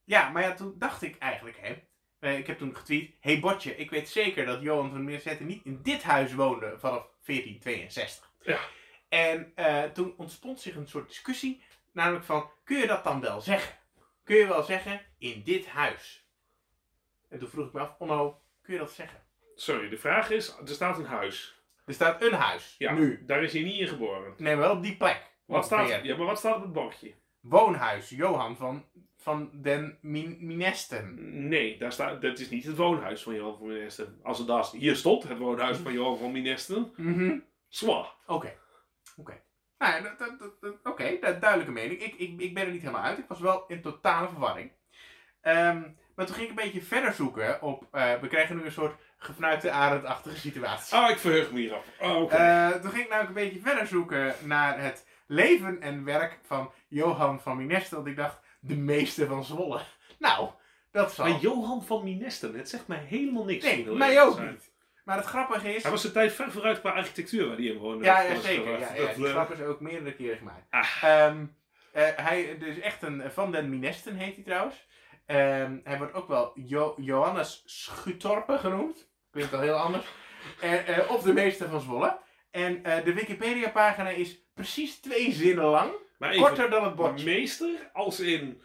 S2: ja, maar ja, toen dacht ik eigenlijk, hè. eh, ik heb toen getweet, hey Botje, ik weet zeker dat Johan van Meerzetten niet in dit huis woonde vanaf 1462.
S1: Ja.
S2: En eh, toen ontstond zich een soort discussie Namelijk van, kun je dat dan wel zeggen? Kun je wel zeggen, in dit huis? En toen vroeg ik me af, Onno, kun je dat zeggen?
S1: Sorry, de vraag is, er staat een huis.
S2: Er staat een huis.
S1: Ja,
S2: Nu.
S1: daar is hij niet in geboren.
S2: Nee, maar wel op die plek.
S1: Wat staat,
S2: Ongeveer.
S1: ja, maar wat staat op het bordje?
S2: Woonhuis Johan van, van den Min Minesten.
S1: Nee, daar staat, dat is niet het woonhuis van Johan van Minesten. Als het daar hier stond, het woonhuis van Johan van Minesten.
S2: Mhm.
S1: Zwa.
S2: Oké. Oké. Nou ja, dat, dat, dat, dat- oké, dat- duidelijke mening. Ik, ik, ik ben er niet helemaal uit. Ik was wel in totale verwarring. Ehm, maar toen ging ik een beetje verder zoeken op... eh, we krijgen nu een soort gefnuikte arendachtige situatie.
S1: Ah, ik verheug me hierop. Ah, oké.
S2: Eh, toen ging ik namelijk een beetje verder zoeken naar het leven en werk van Johan van Minestel. Want ik dacht, de meester van Zwolle. Nou, dat zal...
S1: maar Johan van Minesten, het zegt mij helemaal niks.
S2: nee,
S1: Heel
S2: mij
S1: eerlijk
S2: ook
S1: zijn.
S2: niet. Maar het grappige is...
S1: Hij was zijn tijd ver vooruit qua architectuur waar hij in woonde.
S2: Ja,
S1: Dat
S2: ja
S1: was
S2: zeker.
S1: wel-
S2: Ja, ja,
S1: dat,
S2: die
S1: eh,
S2: grap is ook meerdere keren gemaakt.
S1: Ah.
S2: Ehm, eh, hij dus echt een Van den Minesten heet hij trouwens. Ehm, hij wordt ook wel Jo- Johannes Schutorpe genoemd. Klinkt al heel anders. Eh, eh, of de meester van Zwolle. En eh, de Wikipedia pagina is precies twee zinnen lang.
S1: maar
S2: Korter dan het bordje.
S1: meester als in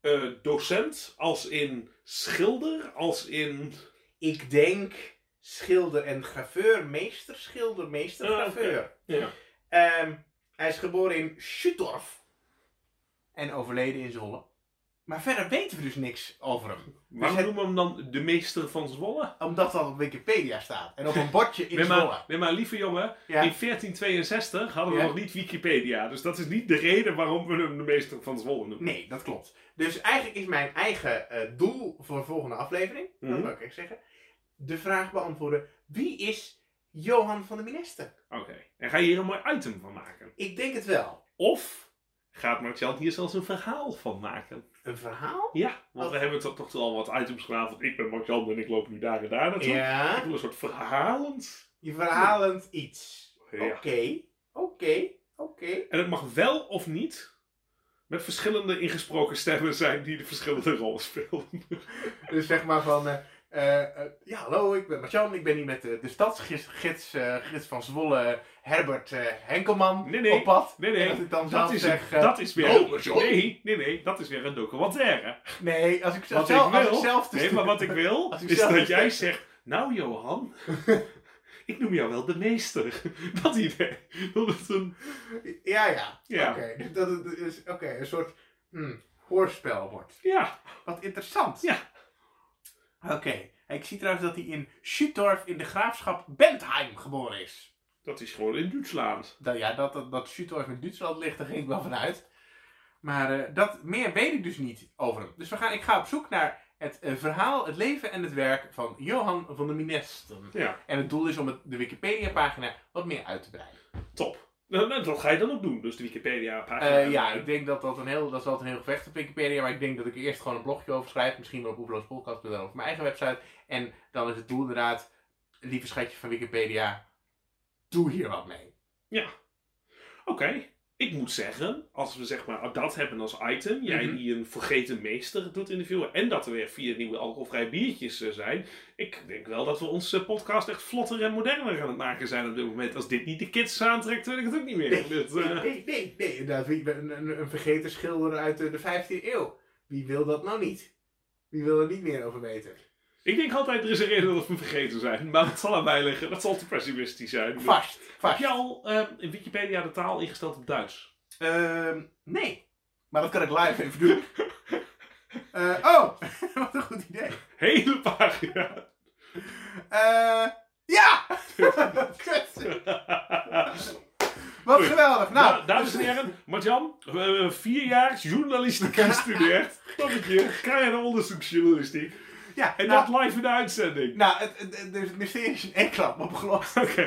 S1: eh, docent, als in schilder, als in...
S2: Ik denk schilder en graveur. Meester, schilder, meester,
S1: Ah, oké.
S2: graveur.
S1: Ja.
S2: Ehm, hij is geboren in Schuttorf. En overleden in Zwolle. Maar verder weten we dus niks over hem.
S1: Waarom
S2: Dus het-
S1: noemen we hem dan de meester van Zwolle?
S2: Omdat dat op Wikipedia staat. En op een bordje in
S1: Nee maar,
S2: Zwolle.
S1: nee, maar lieve jongen,
S2: Ja.
S1: in 1462 hadden we
S2: Ja.
S1: nog niet Wikipedia. Dus dat is niet de reden waarom we hem de meester van Zwolle noemen.
S2: Nee, dat klopt. Dus eigenlijk is mijn eigen eh, doel voor de volgende aflevering.
S1: Mhm.
S2: Dat wil ik echt zeggen. De vraag beantwoorden. Wie is Johan van de Mineste?
S1: Oké. En ga je hier een mooi item van maken?
S2: Ik denk het wel.
S1: Of gaat Martjan hier zelfs een verhaal van maken?
S2: Een verhaal?
S1: Ja, want
S2: Wat?
S1: we hebben toch toch al wat items gedaan. Want ik ben Martjan en ik loop nu daar en daar naartoe. Ik
S2: Ja.
S1: wil een soort verhalend.
S2: Je verhalend iets.
S1: Ja.
S2: Oké. Oké. Oké.
S1: En het mag wel of niet met verschillende ingesproken stemmen zijn die de verschillende rollen
S2: Oh.
S1: spelen.
S2: Dus zeg maar van, eh, eh, eh, ja hallo, ik ben Martjan, ik ben hier met eh, de, de stadsgids gids, eh, gids van Zwolle, Herbert eh, Henkelman,
S1: Nee, nee.
S2: op pad.
S1: Nee, nee.
S2: En dat ik dan
S1: Dat
S2: zelf
S1: is,
S2: zeg,
S1: een-
S2: eh,
S1: dat is weer.
S2: oh,
S1: een-
S2: Martjan.
S1: nee, nee, nee, dat is weer een documentaire.
S2: Nee, als ik zelf,
S1: Wat
S2: zelf,
S1: ik
S2: als
S1: wil.
S2: ik zelf te
S1: Nee, maar wat ik wil
S2: Als ik
S1: is
S2: zelf
S1: dat
S2: de
S1: jij
S2: stem-
S1: zegt. Nou, Johan, ik noem jou wel de meester. Dat idee. Dat is een.
S2: Ja, ja.
S1: Ja.
S2: Oké, dus dat het dus, oké, een soort hm, hoorspel wordt.
S1: Ja,
S2: Wat interessant.
S1: Ja.
S2: Oké, ik zie trouwens dat hij in Schuttorf in de graafschap Bentheim geboren is.
S1: dat is gewoon in Duitsland.
S2: Nou ja, dat, dat, dat Schuttorf in Duitsland ligt, daar ging ik wel vanuit. Maar eh, dat, meer weet ik dus niet over hem. Dus we gaan, ik ga op zoek naar het eh, verhaal, het leven en het werk van Johan van de Minesten.
S1: Ja,
S2: En het doel is om het, de Wikipedia-pagina wat meer uit te breiden.
S1: top. Nou, nou, dat ga je dan ook doen. Dus de Wikipedia-pagina.
S2: Eh, ja, ik denk dat dat een heel, dat is altijd een heel gevecht op Wikipedia. Maar ik denk dat ik er eerst gewoon een blogje over schrijf. Misschien wel op oeverloospodcast.nl of mijn eigen website. En dan is het doel inderdaad, lieve schatje van Wikipedia, doe hier wat mee.
S1: Oké. Ik moet zeggen, als we zeg maar dat hebben als item, jij
S2: Mhm.
S1: die een vergeten meester doet interviewen en dat er weer vier nieuwe alcoholvrij biertjes eh, zijn, ik denk wel dat we onze podcast echt vlotter en moderner aan het maken zijn op dit moment. Als dit niet de kids aantrekt, weet ik het ook niet meer. Dus, eh,
S2: Nee, nee, nee. Inderdaad, wie- een, een, een vergeten schilder uit eh, de, de 15e eeuw. Wie wil dat nou niet? Wie wil er niet meer over weten?
S1: ik denk altijd er is een reden dat we vergeten zijn, maar dat zal aan mij liggen. Dat zal te pessimistisch zijn.
S2: Vast,
S1: Heb
S2: vast.
S1: je al eh, in Wikipedia de taal ingesteld op Duits?
S2: Ehm, nee. Maar dat kan ik live even doen. Eh, oh, wat een goed idee.
S1: Hele pagina.
S2: Eh, ja! Kut. Wat geweldig. Nou,
S1: Nou, dames en heren, Martjan, we hebben vier jaar journalistiek gestudeerd. Nog een keer, krijg je een onderzoeksjournalistiek.
S2: ja,
S1: En
S2: nou,
S1: dat live in de uitzending.
S2: nou het, het, het- het mysterie is in één klap opgelost.
S1: Oké,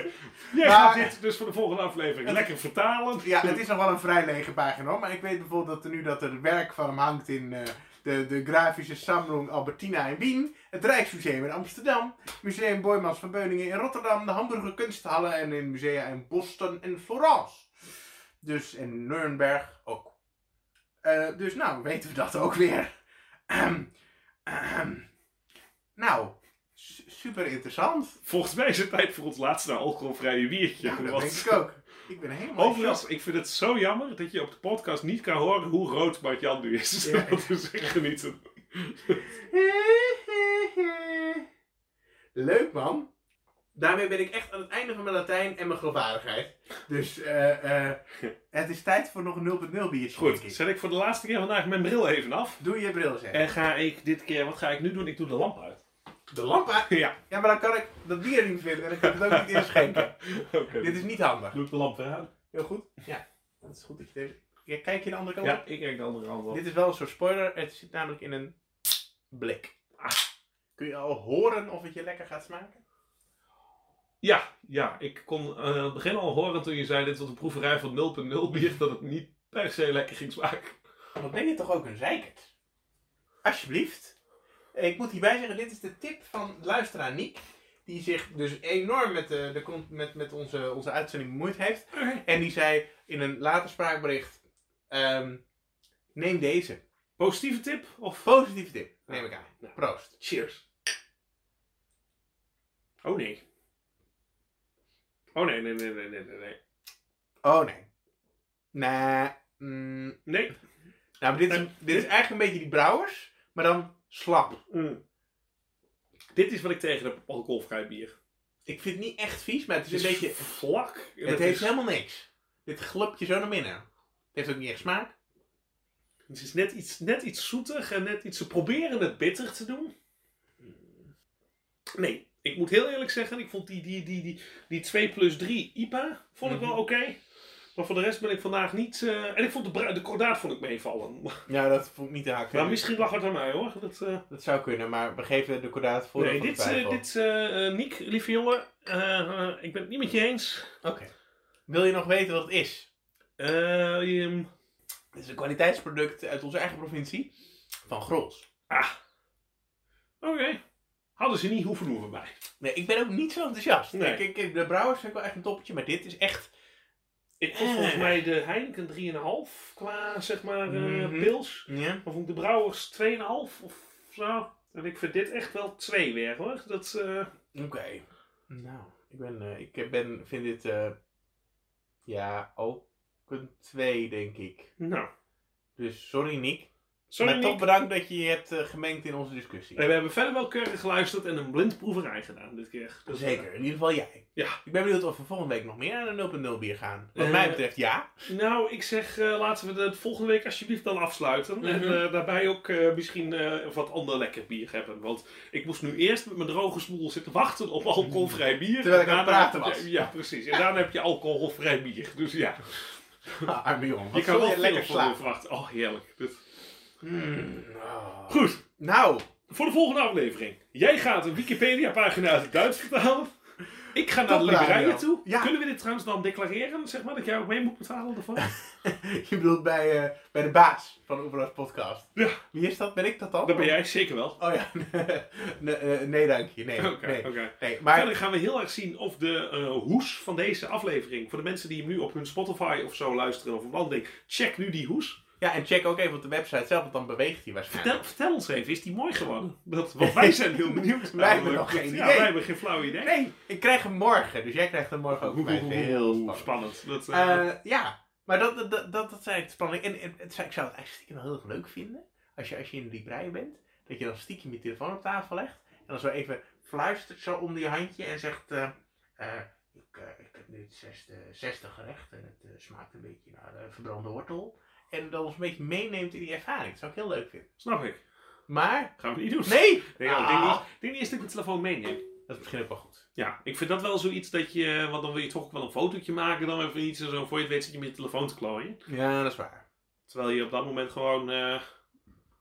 S1: jij
S2: Maar-
S1: gaat dit dus voor de volgende aflevering lekker vertalen.
S2: Nou, eh, Ja, het is nog wel een vrij lege pagina hoor. Maar ik weet bijvoorbeeld dat er nu dat er werk van hem hangt in eh, de, de grafische Sammlung Albertina in Wien. Het Rijksmuseum in Amsterdam. Museum Boijmans van Beuningen in Rotterdam. De Hamburger Kunsthallen en in musea in Boston en Florence. Dus in Nuremberg ook. Eh, dus nou, weten we dat ook weer. Ehm, ehm. nou, su- super interessant.
S1: Volgens mij is het tijd voor ons laatste alcoholvrije biertje.
S2: Ja, dat
S1: Want-
S2: denk ik ook. Ik ben helemaal in shock.
S1: Overigens, ik vind het zo jammer dat je op de podcast niet kan horen hoe rood Martjan nu is.
S2: Ja.
S1: Dat is echt genieten.
S2: Leuk man. Daarmee ben ik echt aan het einde van mijn Latijn en mijn geloofwaardigheid. Dus eh, eh, het is tijd voor nog een 0.0 biertje.
S1: Goed,
S2: denk ik.
S1: zet ik voor de laatste keer vandaag mijn bril even af.
S2: Doe je bril zeg.
S1: En ga ik dit keer, wat ga ik nu doen? Ik doe de lamp uit.
S2: De lamp uit.
S1: Ja,
S2: Ja, maar dan kan ik dat bier niet vinden en ik kan ik het ook niet inschenken.
S1: oké.
S2: Dit is niet handig.
S1: Doe ik de lamp weer aan?
S2: Heel goed? Ja. Dat is goed dat je deze... Ja, kijk je de andere kant
S1: Ja,
S2: op?
S1: ik kijk de andere kant op.
S2: Dit is wel een soort spoiler. Het zit namelijk in een blik. Ah. Kun je al horen of het je lekker gaat smaken?
S1: Ja, ja, ik kon eh, aan het begin al horen toen je zei dit was een proeverij van 0.0 bier, dat het niet per se lekker ging smaken.
S2: Dan ben je toch ook een zeikert? Alsjeblieft. Ik moet hierbij zeggen, dit is de tip van luisteraar Niek. Die zich dus enorm met, de, de, con- met, met onze, onze uitzending bemoeid heeft. En die zei in een later spraakbericht... ehm, neem deze.
S1: Positieve tip? Of...
S2: Positieve tip, neem ik aan.
S1: Ja.
S2: Proost.
S1: Cheers. Oh nee. Oh nee, nee, nee, nee, nee, nee, nee.
S2: Oh nee. Nee. mm,
S1: Nee.
S2: Nou, maar dit, is, dit is eigenlijk een beetje die brouwers, maar dan slap.
S1: Mm. Dit is wat ik tegen heb, alcoholvrij bier.
S2: Ik vind het niet echt vies, maar het is
S1: Het is
S2: een beetje.
S1: vlak. en
S2: Het heeft
S1: is,
S2: helemaal niks. Dit glupt je zo naar binnen. Het heeft ook niet echt smaak.
S1: het is net iets, net iets zoetig en net iets... Ze proberen het bitter te doen. Nee, ik moet heel eerlijk zeggen, ik vond die, die, die, die, die 2 plus 3 IPA vond ik wel oké. Maar voor de rest ben ik vandaag niet... eh, En ik vond de, bru- de kordaat vond ik meevallen.
S2: Ja, dat vond ik niet te haken.
S1: Maar misschien lag het aan mij hoor. Dat, eh,
S2: Dat zou kunnen, maar we geven de kordaat voor.
S1: nee, dit, eh, dit eh, eh, Niek, lieve jongen, eh, eh, ik ben het niet met je eens.
S2: Oké. Wil je nog weten wat het is?
S1: Eh, je-
S2: Het is een kwaliteitsproduct uit onze eigen provincie. Van Grols.
S1: ah. Oké. Hadden ze niet hoeven doen voor mij.
S2: Nee, ik ben ook niet zo enthousiast.
S1: Nee.
S2: Ik, ik, ik- de brouwers vind ik wel echt een toppetje, maar dit is echt...
S1: Ik vond
S2: Eh.
S1: volgens mij de Heineken 3,5 qua zeg maar eh,
S2: Mhm.
S1: pils.
S2: Ja.
S1: Maar vond ik de Brouwers 2,5 of zo. En ik vind dit echt wel 2 weer hoor. Dat, eh,
S2: Oké. Nou, ik, ben, eh, ik ben, vind dit eh, ja, ook een 2, denk ik.
S1: nou,
S2: Dus sorry, Nick.
S1: sorry
S2: maar
S1: Niek.
S2: toch bedankt dat je je hebt eh, gemengd in onze discussie.
S1: En Eh, we hebben verder wel keurig geluisterd en een blindproeverij gedaan dit keer. Dus,
S2: Zeker, in ieder geval jij.
S1: Ja.
S2: Ik ben benieuwd of we volgende week nog meer naar een 0.0 bier gaan. Wat
S1: Eh,
S2: mij betreft ja.
S1: Nou, ik zeg, eh, laten we het volgende week alsjeblieft dan afsluiten. En
S2: Mhm.
S1: eh, daarbij ook eh, misschien eh, wat ander lekker bier hebben. Want ik moest nu eerst met mijn droge smoel zitten wachten op alcoholvrij bier.
S2: Terwijl ik
S1: En
S2: aan het
S1: daarna-
S2: praten was.
S1: Ja, precies. En daarna heb je alcoholvrij bier. Dus ja,
S2: Ah, Arme jongen,
S1: je
S2: wat
S1: kan
S2: zal
S1: wel
S2: je lekker
S1: veel van me
S2: slapen.
S1: verwachten. Oh, heerlijk. Dit-
S2: Mm, oh.
S1: Goed,
S2: Nou,
S1: voor de volgende aflevering. Jij gaat een Wikipedia-pagina uit het Duits vertalen. Ik ga naar de
S2: Top
S1: Liberijen
S2: radio.
S1: toe.
S2: Ja.
S1: Kunnen we dit trouwens dan declareren, zeg maar, dat jij ook mee moet betalen ervan?
S2: je bedoelt bij, eh, bij de baas van Oeverloos Podcast.
S1: Ja.
S2: Wie is dat? Ben ik dat dan?
S1: Dat ben jij zeker wel.
S2: Oh ja, nee, eh, nee dank je. Nee,
S1: Oké,
S2: nee.
S1: oké.
S2: Nee, maar
S1: Verder gaan we heel erg zien of de eh, hoes van deze aflevering, voor de mensen die hem nu op hun Spotify of zo luisteren of een ander ding, check nu die hoes.
S2: Ja, en check ook even op de website zelf, want dan beweegt hij waarschijnlijk.
S1: Vertel, vertel ons even, is die mooi geworden? Dat, want wij zijn heel benieuwd.
S2: Wij hebben nog
S1: namelijk.
S2: geen
S1: ja,
S2: idee.
S1: Wij hebben geen flauw idee.
S2: Nee, ik krijg hem morgen, dus jij krijgt hem morgen ook
S1: Hoe-
S2: bij.
S1: hoe- hoe-
S2: Heel
S1: hoe
S2: spannend.
S1: spannend. Dat, eh,
S2: Eh, ja, maar dat, dat, dat, dat zijn echt spanning. En, en het zou- ik zou het eigenlijk stiekem wel heel erg leuk vinden, als je, als je in de librij bent, dat je dan stiekem je telefoon op tafel legt en dan zo even fluistert zo onder je handje en zegt... eh, eh, ik, eh, ik heb nu het zesde, zesde gerecht en het eh, smaakt een beetje naar eh, verbrande wortel. En dan ons een beetje meeneemt in die ervaring. Dat zou ik heel leuk vinden.
S1: snap ik.
S2: Maar,
S1: Gaan we niet doen.
S2: nee!
S1: Nee, ja, ik
S2: Ah.
S1: denk niet- ik denk niet eens dat ik mijn telefoon meeneem.
S2: Dat is misschien ook wel goed.
S1: Ja, ik vind dat wel zoiets dat je, want dan wil je toch ook wel een fotootje maken dan even iets en zo, voor je het weet zit je met je telefoon te klooien.
S2: Ja, dat is waar.
S1: Terwijl je op dat moment gewoon eh,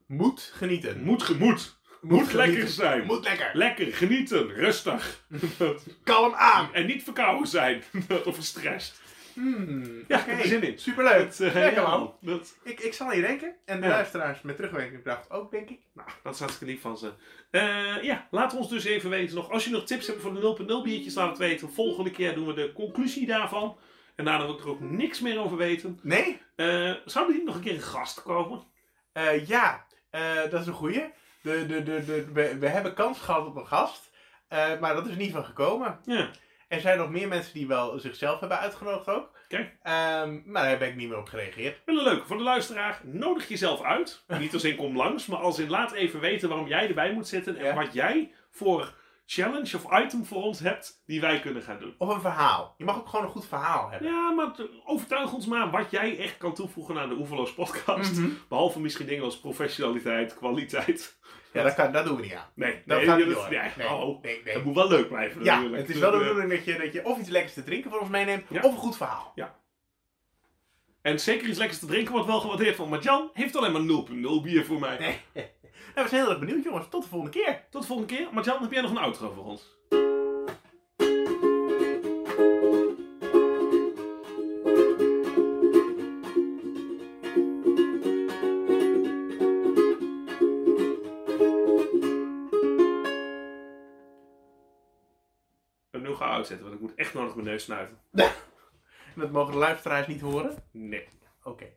S2: Moet genieten.
S1: moet, ge- moet, moet lekker zijn.
S2: Moet lekker.
S1: Lekker, genieten, rustig.
S2: Kalm aan.
S1: en niet verkouden zijn of gestrest.
S2: Hmm,
S1: Ja,
S2: oké.
S1: ik heb er zin in.
S2: Superleuk.
S1: Dat, eh,
S2: lekker
S1: ja,
S2: man.
S1: Dat,
S2: Ik, ik zal hier denken. En de
S1: Ja.
S2: luisteraars met terugwerking kracht ook, denk ik.
S1: nou, dat is hartstikke lief van ze. Eh, ja, laat ons dus even weten nog. Als je nog tips hebt voor de 0.0 biertjes, laat het weten. Volgende keer doen we de conclusie daarvan. En daarna wil ik er ook niks meer over weten.
S2: Nee?
S1: Eh, zou er niet nog een keer een gast komen?
S2: Eh, ja, Eh, dat is een goeie. De, de, de, de, we, we hebben kans gehad op een gast. eh, maar dat is niet van gekomen.
S1: Ja.
S2: Er zijn nog meer mensen die wel zichzelf hebben uitgenodigd ook.
S1: Oké.
S2: Ehm, maar daar heb ik niet meer op gereageerd.
S1: Wel een leuke voor de luisteraar. Nodig jezelf uit. Niet als in kom langs, maar als in laat even weten waarom jij erbij moet zitten. En
S2: Ja.
S1: wat jij voor challenge of item voor ons hebt die wij kunnen gaan doen.
S2: Of een verhaal. Je mag ook gewoon een goed verhaal hebben.
S1: Ja, maar t- overtuig ons maar wat jij echt kan toevoegen aan de Oeverloos podcast.
S2: Mhm.
S1: Behalve misschien dingen als professionaliteit, kwaliteit.
S2: Ja, dat, kan, dat doen we niet aan.
S1: Nee,
S2: Dat
S1: nee,
S2: gaat
S1: dat-
S2: niet door.
S1: nee,
S2: Nee,
S1: hallo.
S2: nee, nee.
S1: Dat moet wel leuk blijven
S2: Ja,
S1: natuurlijk.
S2: het is wel de
S1: Eh,
S2: bedoeling dat je, dat je of iets lekkers te drinken voor ons meeneemt,
S1: Ja.
S2: of een goed verhaal.
S1: En zeker iets lekkers te drinken wordt wel gewaardeerd van. Maar Jan heeft alleen maar 0.0 bier voor mij.
S2: Nee. Nou, we zijn heel erg benieuwd jongens. Tot de volgende keer.
S1: Tot de volgende keer. Maar Jan, heb jij nog een outro voor ons? Een nu gaan uitzetten, want ik moet echt nodig mijn neus snuiten.
S2: Dat mogen de luisteraars niet horen.
S1: Nee.
S2: Oké.